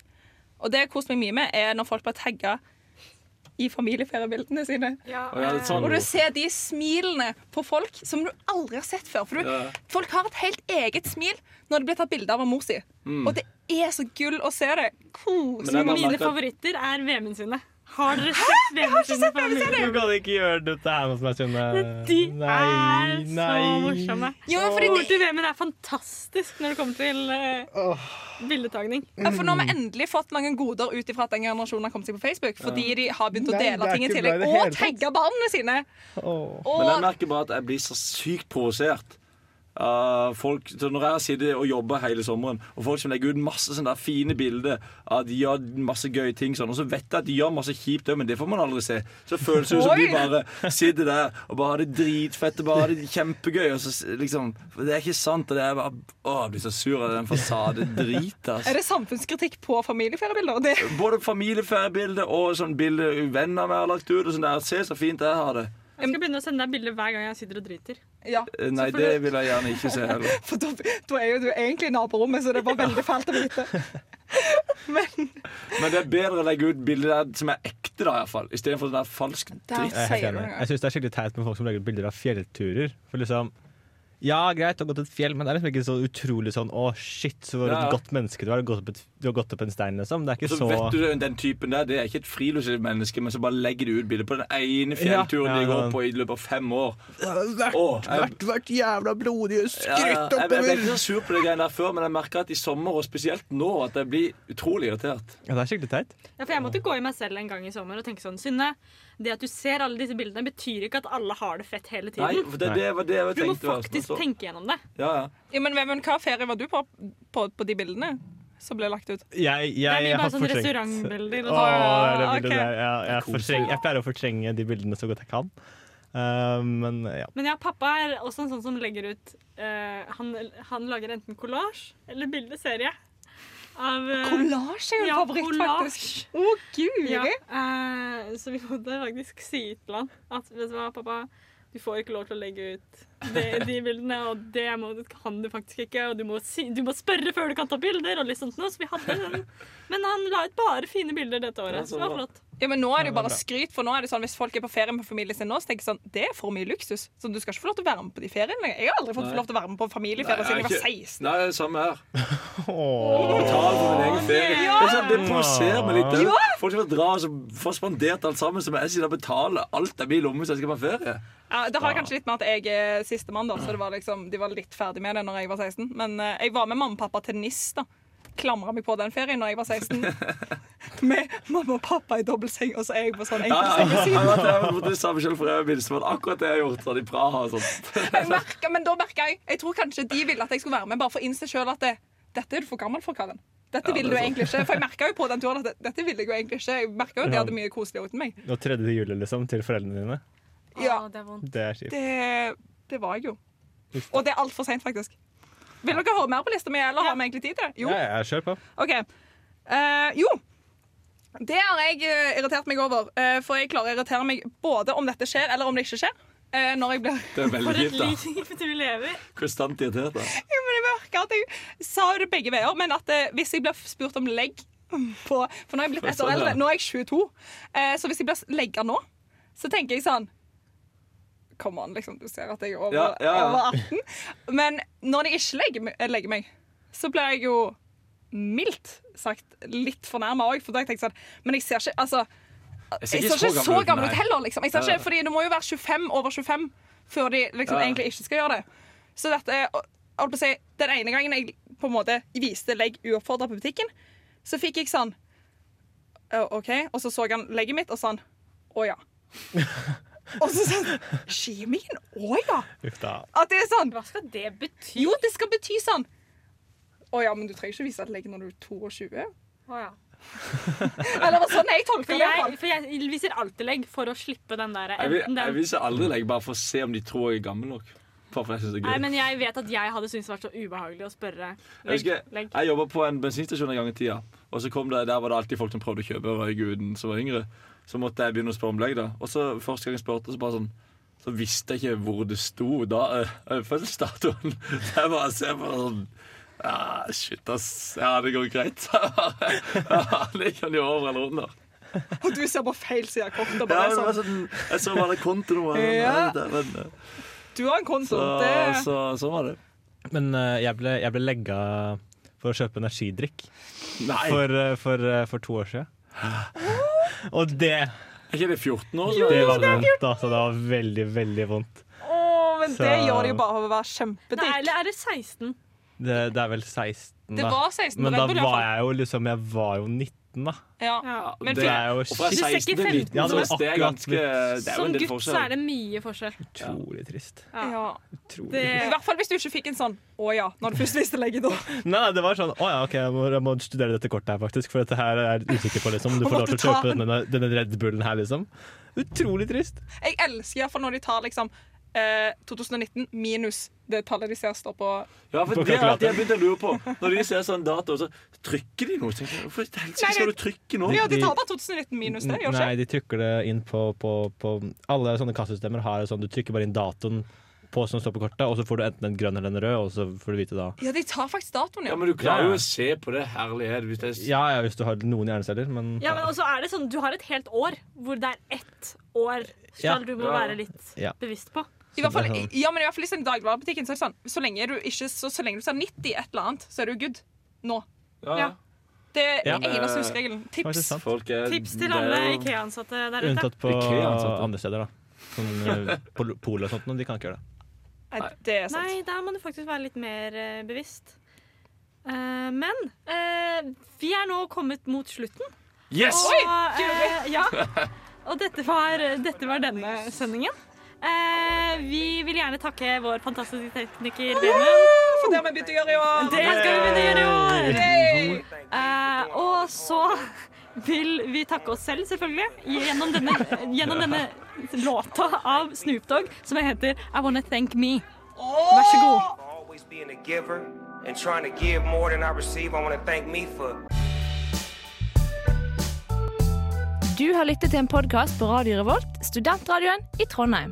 Speaker 4: Og det jeg har kost meg mye med, er når folk blir tagga i familieferiebildene sine.
Speaker 5: Ja,
Speaker 3: Å, ja, litt
Speaker 5: eh,
Speaker 3: sånn.
Speaker 4: Og du ser de smilene på folk som du aldri har sett før. For du,
Speaker 3: Ja.
Speaker 4: folk har et helt eget smil når de blir tatt bilde av av mor si. Og det er så gull å se det. Kos.
Speaker 3: Mm. Men jeg bare
Speaker 5: Mine
Speaker 3: merker at-
Speaker 5: favoritter er VM-en sine. Har dere sett VM-en sine? på Lulu?
Speaker 7: Du kan ikke gjøre dette her mot meg, Synne.
Speaker 5: De er så morsomme.
Speaker 4: Jo, men fordi det-
Speaker 5: Ordet til VM-en er fantastisk når det kommer til eh, bildetagning.
Speaker 4: Ja, for nå har vi endelig fått mange goder ut ifra at den generasjonen har kommet seg på Facebook. Fordi de har begynt
Speaker 7: Nei,
Speaker 4: å
Speaker 7: det
Speaker 4: dele
Speaker 7: er
Speaker 4: ting i
Speaker 7: ikke bra i
Speaker 4: tillegg.
Speaker 7: det hele
Speaker 4: Og
Speaker 7: tatt.
Speaker 4: tagge barna sine.
Speaker 7: Åh.
Speaker 3: Men jeg
Speaker 4: Og
Speaker 3: merker bare at jeg blir så sykt provosert. av folk, så når jeg har sittet og jobba hele sommeren, og folk som legger ut masse sånne der fine bilder av at de gjør masse gøye ting, sånn, og så vet jeg at de gjør masse kjipt òg, men det får man aldri se. Så føles det ut som de
Speaker 4: Oi!
Speaker 3: bare sitter der og bare har det dritfett og bare har det kjempegøy. Og så, s- liksom, for det er ikke sant. Og det er bare, å, jeg blir så sur av den fasadedriten. Altså.
Speaker 4: er det samfunnskritikk på familieferiebilder? Det,
Speaker 3: Både familieferiebilder og sånn bilder venner vi har lagt ut. Og sånn der, Se så fint jeg har det.
Speaker 5: Jeg skal begynne å sende deg bilder hver gang jeg sitter og driter.
Speaker 4: ja,
Speaker 3: Eh, Nei,
Speaker 4: Så får
Speaker 3: det
Speaker 4: du-
Speaker 3: vil jeg gjerne ikke se heller.
Speaker 4: for da, da er jo du egentlig i naborommet, så det var veldig fælt å vite. Men
Speaker 3: Men det er bedre å legge ut bilder der som er ekte, da, i hvert fall istedenfor sånn der falsk
Speaker 4: der
Speaker 3: dritt.
Speaker 7: Jeg er helt
Speaker 4: sier du
Speaker 7: enig.
Speaker 4: noe.
Speaker 7: Jeg syns det er skikkelig teit med folk som legger ut bilder av fjellturer. For liksom Ja, greit, du har gått et fjell, men det er liksom ikke så utrolig sånn Å, shit, så var du
Speaker 3: Ja.
Speaker 7: et godt menneske du er. Du har gått opp, et, du har gått opp en stein, liksom. Det er ikke
Speaker 3: Så,
Speaker 7: så,
Speaker 3: vet du den typen der, det er ikke et friluftslivsmenneske, men så bare legger du ut bilde på den ene fjellturen
Speaker 7: Ja, ja,
Speaker 3: de går
Speaker 7: ja.
Speaker 3: på i løpet av fem år.
Speaker 7: vært,
Speaker 3: Å, jeg-
Speaker 7: jævla blodige
Speaker 3: Ja, ja. jeg, jeg ble ikke så sur på det greiene der før, men jeg merker at i sommer, og spesielt nå, at jeg blir utrolig irritert.
Speaker 7: Ja, det er skikkelig teit.
Speaker 5: Ja, for jeg måtte gå i meg selv en gang i sommer og tenke sånn Synne, det at du ser alle disse bildene, betyr ikke at alle har det fett hele
Speaker 3: Nei,
Speaker 5: tiden.
Speaker 3: for det, det var det jeg
Speaker 5: Du må
Speaker 3: tenkte. var-
Speaker 5: faktisk
Speaker 3: så-
Speaker 5: tenke gjennom det.
Speaker 3: Ja, ja.
Speaker 4: Ja, men, men hva ferie var du på, på på de bildene som ble lagt ut?
Speaker 7: Jeg, jeg,
Speaker 5: Det er mye bare
Speaker 7: har
Speaker 5: sånn
Speaker 7: fortrengt-
Speaker 5: restaurantbilder.
Speaker 7: Åh,
Speaker 5: Og sånn.
Speaker 7: det
Speaker 4: Ah,
Speaker 7: er det
Speaker 4: ok.
Speaker 7: der. Ja, jeg, fortreng, jeg pleier å fortrenge de bildene så godt jeg kan. Eh, men ja.
Speaker 5: Men ja, pappa er også en sånn som legger ut eh, han, han lager enten collage eller bildeserie. Av eh,
Speaker 1: Kollasje er jo en
Speaker 5: ja,
Speaker 1: favoritt,
Speaker 5: collage.
Speaker 1: faktisk. Å, guri!
Speaker 5: Ja, eh, så vi måtte faktisk si til han at vet du hva, pappa, du får ikke lov til å legge ut det, de bildene, og det må, kan du faktisk ikke, og du må, si, du må spørre før du kan ta bilder, og litt sånt noe, så vi hadde den. Men han la ut bare fine bilder dette
Speaker 3: Ja,
Speaker 5: året, så
Speaker 3: så
Speaker 5: det var
Speaker 3: bra.
Speaker 5: flott.
Speaker 4: Ja, men Nå er det jo
Speaker 7: Ja, det er
Speaker 4: bare
Speaker 7: bra.
Speaker 4: skryt, for nå er det sånn hvis folk er på ferie med familien sin nå, så tenker jeg sånn Det er for mye luksus, så du skal ikke få lov til å være med på de feriene lenger. Jeg har aldri fått
Speaker 3: Nei.
Speaker 4: lov til å være med på
Speaker 3: Nei,
Speaker 4: familieferie siden jeg var
Speaker 3: ikke-
Speaker 4: 16.
Speaker 3: Nei, det er samme her.
Speaker 7: Åh.
Speaker 3: Betal for min egen ferie. Det, er sånn, det provoserer meg litt.
Speaker 7: Ja.
Speaker 3: Folk som drar og så får spandert alt sammen, så må jeg sitte og betale alt av min lomme hvis jeg skal på ferie.
Speaker 4: Ja, det har kanskje litt med at jeg er sistemann, da, så det var liksom, de var litt ferdig med det når jeg var 16. Men eh, jeg var med mamma og pappa til NIS, da. Klamra meg på den ferien når jeg var 16. med mamma og pappa i dobbeltseng, og så er jeg på sånn
Speaker 3: Ja, ja,
Speaker 4: enkeltseng.
Speaker 3: jeg har vært det samme selv for jeg og minst, men akkurat det jeg har gjort sånn i Praha og sånt.
Speaker 4: Jeg merker, men da merker jeg Jeg tror kanskje de ville at jeg skulle være med, bare for å innse sjøl at det, dette er du for gammel for, Karen. Dette
Speaker 3: Ja,
Speaker 4: ville
Speaker 3: det
Speaker 4: du
Speaker 3: er
Speaker 4: egentlig ikke. For jeg merka jo på den turen at det- dette ville jeg jo egentlig ikke. Jeg merka jo at de hadde mye koseligere uten meg.
Speaker 7: Nå tredje juli, liksom, til foreldrene dine.
Speaker 4: Ja.
Speaker 5: Å, det er vondt.
Speaker 7: Det er kjipt.
Speaker 4: Det, det var jeg jo. Og det er altfor seint, faktisk. Vil dere høre mer på lista mi, eller har vi egentlig tid til det? Jo.
Speaker 7: Ja, ja, kjør på.
Speaker 4: OK. Eh, jo. Det har jeg eh, irritert meg over. eh, for jeg klarer å irritere meg både om dette skjer, eller om det ikke skjer. eh, når jeg blir
Speaker 3: Det er veldig
Speaker 5: For et
Speaker 3: kjipt, da.
Speaker 5: liv du lever.
Speaker 3: Konstant irritert. da.
Speaker 4: Jo, men jeg merker at jeg sa det begge veier, men at eh, hvis jeg blir spurt om legg på For nå er jeg blitt ett år
Speaker 3: Sånn, ja.
Speaker 4: eldre. Nå er jeg 22. Eh, så hvis jeg blir legga nå, så tenker jeg sånn Come on, liksom. Du ser at jeg er over,
Speaker 3: Ja, ja, ja.
Speaker 4: over 18. Men når de ikke legger, me- eh, legger meg, så blir jeg jo mildt sagt litt fornærma òg, for da har jeg tenkt sånn Men jeg ser ikke Altså, jeg ser ikke så gammel ut heller, liksom. Jeg ser
Speaker 3: Ja, ja.
Speaker 4: ikke, fordi du må jo være 25 over 25 før de liksom
Speaker 3: Ja, ja.
Speaker 4: egentlig ikke skal gjøre det. Så dette er og- jeg holdt på å si, Den ene gangen jeg på en måte viste legg uoppfordra på butikken, så fikk jeg sånn «Å, OK. Og så så han legget mitt, og sånn Å ja. og så sånn Skimin? Å ja.
Speaker 7: Uff da.
Speaker 4: At det er sånn
Speaker 5: Hva skal det bety?
Speaker 4: Jo, det skal bety sånn. Å ja, men du trenger ikke vise et legg når du er 22.
Speaker 5: Å, ja.
Speaker 4: Eller det var sånn jeg tolka
Speaker 5: For
Speaker 4: det. i hvert fall.
Speaker 5: jeg, for jeg viser alltid legg for å slippe den der
Speaker 3: Jeg, vil-
Speaker 5: enten
Speaker 3: jeg
Speaker 5: den
Speaker 3: viser aldri legg bare for å se om de tror jeg er gammel nok. Bare for jeg synes det er
Speaker 5: Nei,
Speaker 3: gøy.
Speaker 5: men jeg vet at jeg hadde syntes det var så ubehagelig å spørre.
Speaker 3: Jeg
Speaker 5: Legg,
Speaker 3: husker,
Speaker 5: legg.
Speaker 3: jeg jobba på en bensinstasjon en gang i tida. Og så kom det, Der var det alltid folk som prøvde å kjøpe røyk uten som var yngre. Så måtte jeg begynne å spørre om legg. da Og så Første gang jeg spurte, så bare sånn Så visste jeg ikke hvor det sto da eh, eh, fødselsdatoen. Så jeg bare ser på det sånn ah, Shit, ass. Ja, det går greit. ja, det kan jo over eller under.
Speaker 4: Og du ser på feil side av kortet.
Speaker 3: Ja,
Speaker 4: og bare
Speaker 3: men det var
Speaker 4: sånn,
Speaker 3: sånn, jeg så bare kontonummeret.
Speaker 4: Ja.
Speaker 3: men- men-
Speaker 4: Du har en konto.
Speaker 3: Så,
Speaker 4: Det
Speaker 3: så, sånn var det.
Speaker 7: Men eh, jeg, ble, jeg ble legga for å kjøpe energidrikk
Speaker 3: Nei,
Speaker 7: for, eh, for, eh, for to år siden. Og det,
Speaker 3: er ikke det 14 år?
Speaker 7: det var vondt, altså. Det var veldig, veldig vondt.
Speaker 4: Åh, men
Speaker 7: Så-
Speaker 4: det gjør de jo bare for å være
Speaker 5: Nei,
Speaker 4: kjempedrikk.
Speaker 5: eller er det 16?
Speaker 7: Det, det er vel 16,
Speaker 4: Det
Speaker 7: da.
Speaker 4: var 16
Speaker 7: Men da
Speaker 4: november, i hvert
Speaker 7: var
Speaker 4: fall.
Speaker 7: jeg jo liksom Jeg var jo 19, da.
Speaker 4: Ja.
Speaker 5: Ja.
Speaker 4: Men
Speaker 7: Det er jo
Speaker 3: og fra
Speaker 5: Du ser ikke
Speaker 3: 16 til 19,
Speaker 7: Ja, det var
Speaker 3: så det er
Speaker 7: akkurat
Speaker 3: ganske Det er jo
Speaker 5: Som
Speaker 3: en del
Speaker 5: gutt så er
Speaker 3: forskjell.
Speaker 5: det mye forskjell.
Speaker 7: Utrolig trist.
Speaker 4: Ja.
Speaker 7: Utrolig.
Speaker 5: Det,
Speaker 4: I hvert fall hvis du ikke fikk en sånn 'å ja' når du først visste legget. da.
Speaker 7: Nei, nei, det var sånn Å ja, OK, jeg må, jeg må studere dette kortet her, faktisk. For dette her er jeg usikker på, liksom. Du
Speaker 4: Og
Speaker 7: får lov
Speaker 4: måtte
Speaker 7: til å
Speaker 4: ta
Speaker 7: kjøpe
Speaker 4: den.
Speaker 7: denne, denne Red Bullen her, liksom. Utrolig trist.
Speaker 4: Jeg elsker iallfall når de tar liksom eh, 2019 minus det tallet de ser står på.
Speaker 3: Ja, for
Speaker 7: På
Speaker 3: det har jeg
Speaker 7: kalkulatoren.
Speaker 3: begynt å lure på. Når de ser sånn dato, så trykker de noe. Så tenker jeg, Hvorfor i helsike
Speaker 4: Nei,
Speaker 3: skal
Speaker 4: det-
Speaker 3: du trykke nå?
Speaker 4: Ja, de tar bare 2019 minus det, gjør
Speaker 7: Nei,
Speaker 4: ikke?
Speaker 7: de trykker det inn på, på, på Alle sånne kassasystemer har sånn Du trykker bare inn datoen på som står på kortet, og så får du enten en grønn eller en rød, og så får du vite da.
Speaker 4: Ja, de tar faktisk datoen,
Speaker 3: Ja,
Speaker 4: ja.
Speaker 3: men du klarer
Speaker 7: Ja.
Speaker 3: jo å se på det. Herlighet. Hvis det er
Speaker 7: Ja ja, hvis du har noen hjerneceller, men
Speaker 5: ja, men også er det sånn, Du har et helt år hvor det er ett år
Speaker 7: Ja.
Speaker 5: skal du må
Speaker 3: Ja.
Speaker 5: være litt
Speaker 7: Ja.
Speaker 5: bevisst på.
Speaker 4: I hvert fall, ja, men i hvert fall liksom, i dagligvarebutikken så er det sånn så lenge, du ikke, så, så lenge du ser 90 et eller annet, så er du good. Nå.
Speaker 3: Ja.
Speaker 4: Det er
Speaker 7: Ja.
Speaker 4: den eneste huskeregelen. Tips.
Speaker 7: sant.
Speaker 3: Folk er
Speaker 5: Tips til
Speaker 3: det er
Speaker 5: alle
Speaker 3: jo-
Speaker 5: IKEA-ansatte der ute.
Speaker 7: Unntatt på
Speaker 3: IKEA-ansatte.
Speaker 7: andre steder, da. Sånn eh, pol Polet og sånt, men de kan ikke gjøre det.
Speaker 4: Nei, det er sant.
Speaker 5: Nei, der må du faktisk være litt mer eh, bevisst. Eh, men eh, vi er nå kommet mot slutten.
Speaker 3: Yes!
Speaker 5: Og, eh, ja. og dette, var, dette var denne sendingen. Eh, vi vil gjerne takke vår fantastiske tekniker Benjamin.
Speaker 4: For det har vi begynt å gjøre i år.
Speaker 5: Det skal vi begynne å gjøre i år!
Speaker 4: Yay!
Speaker 5: Eh, og så vil vi takke oss selv, selvfølgelig, gjennom denne, gjennom denne låta av Snoop Dogg som heter I Wanna Thank Me. Vær så god.
Speaker 2: always being a giver and trying to give more than I receive. I want to thank me for
Speaker 9: Du har lyttet til en podkast på Radio Revolt, studentradioen i Trondheim.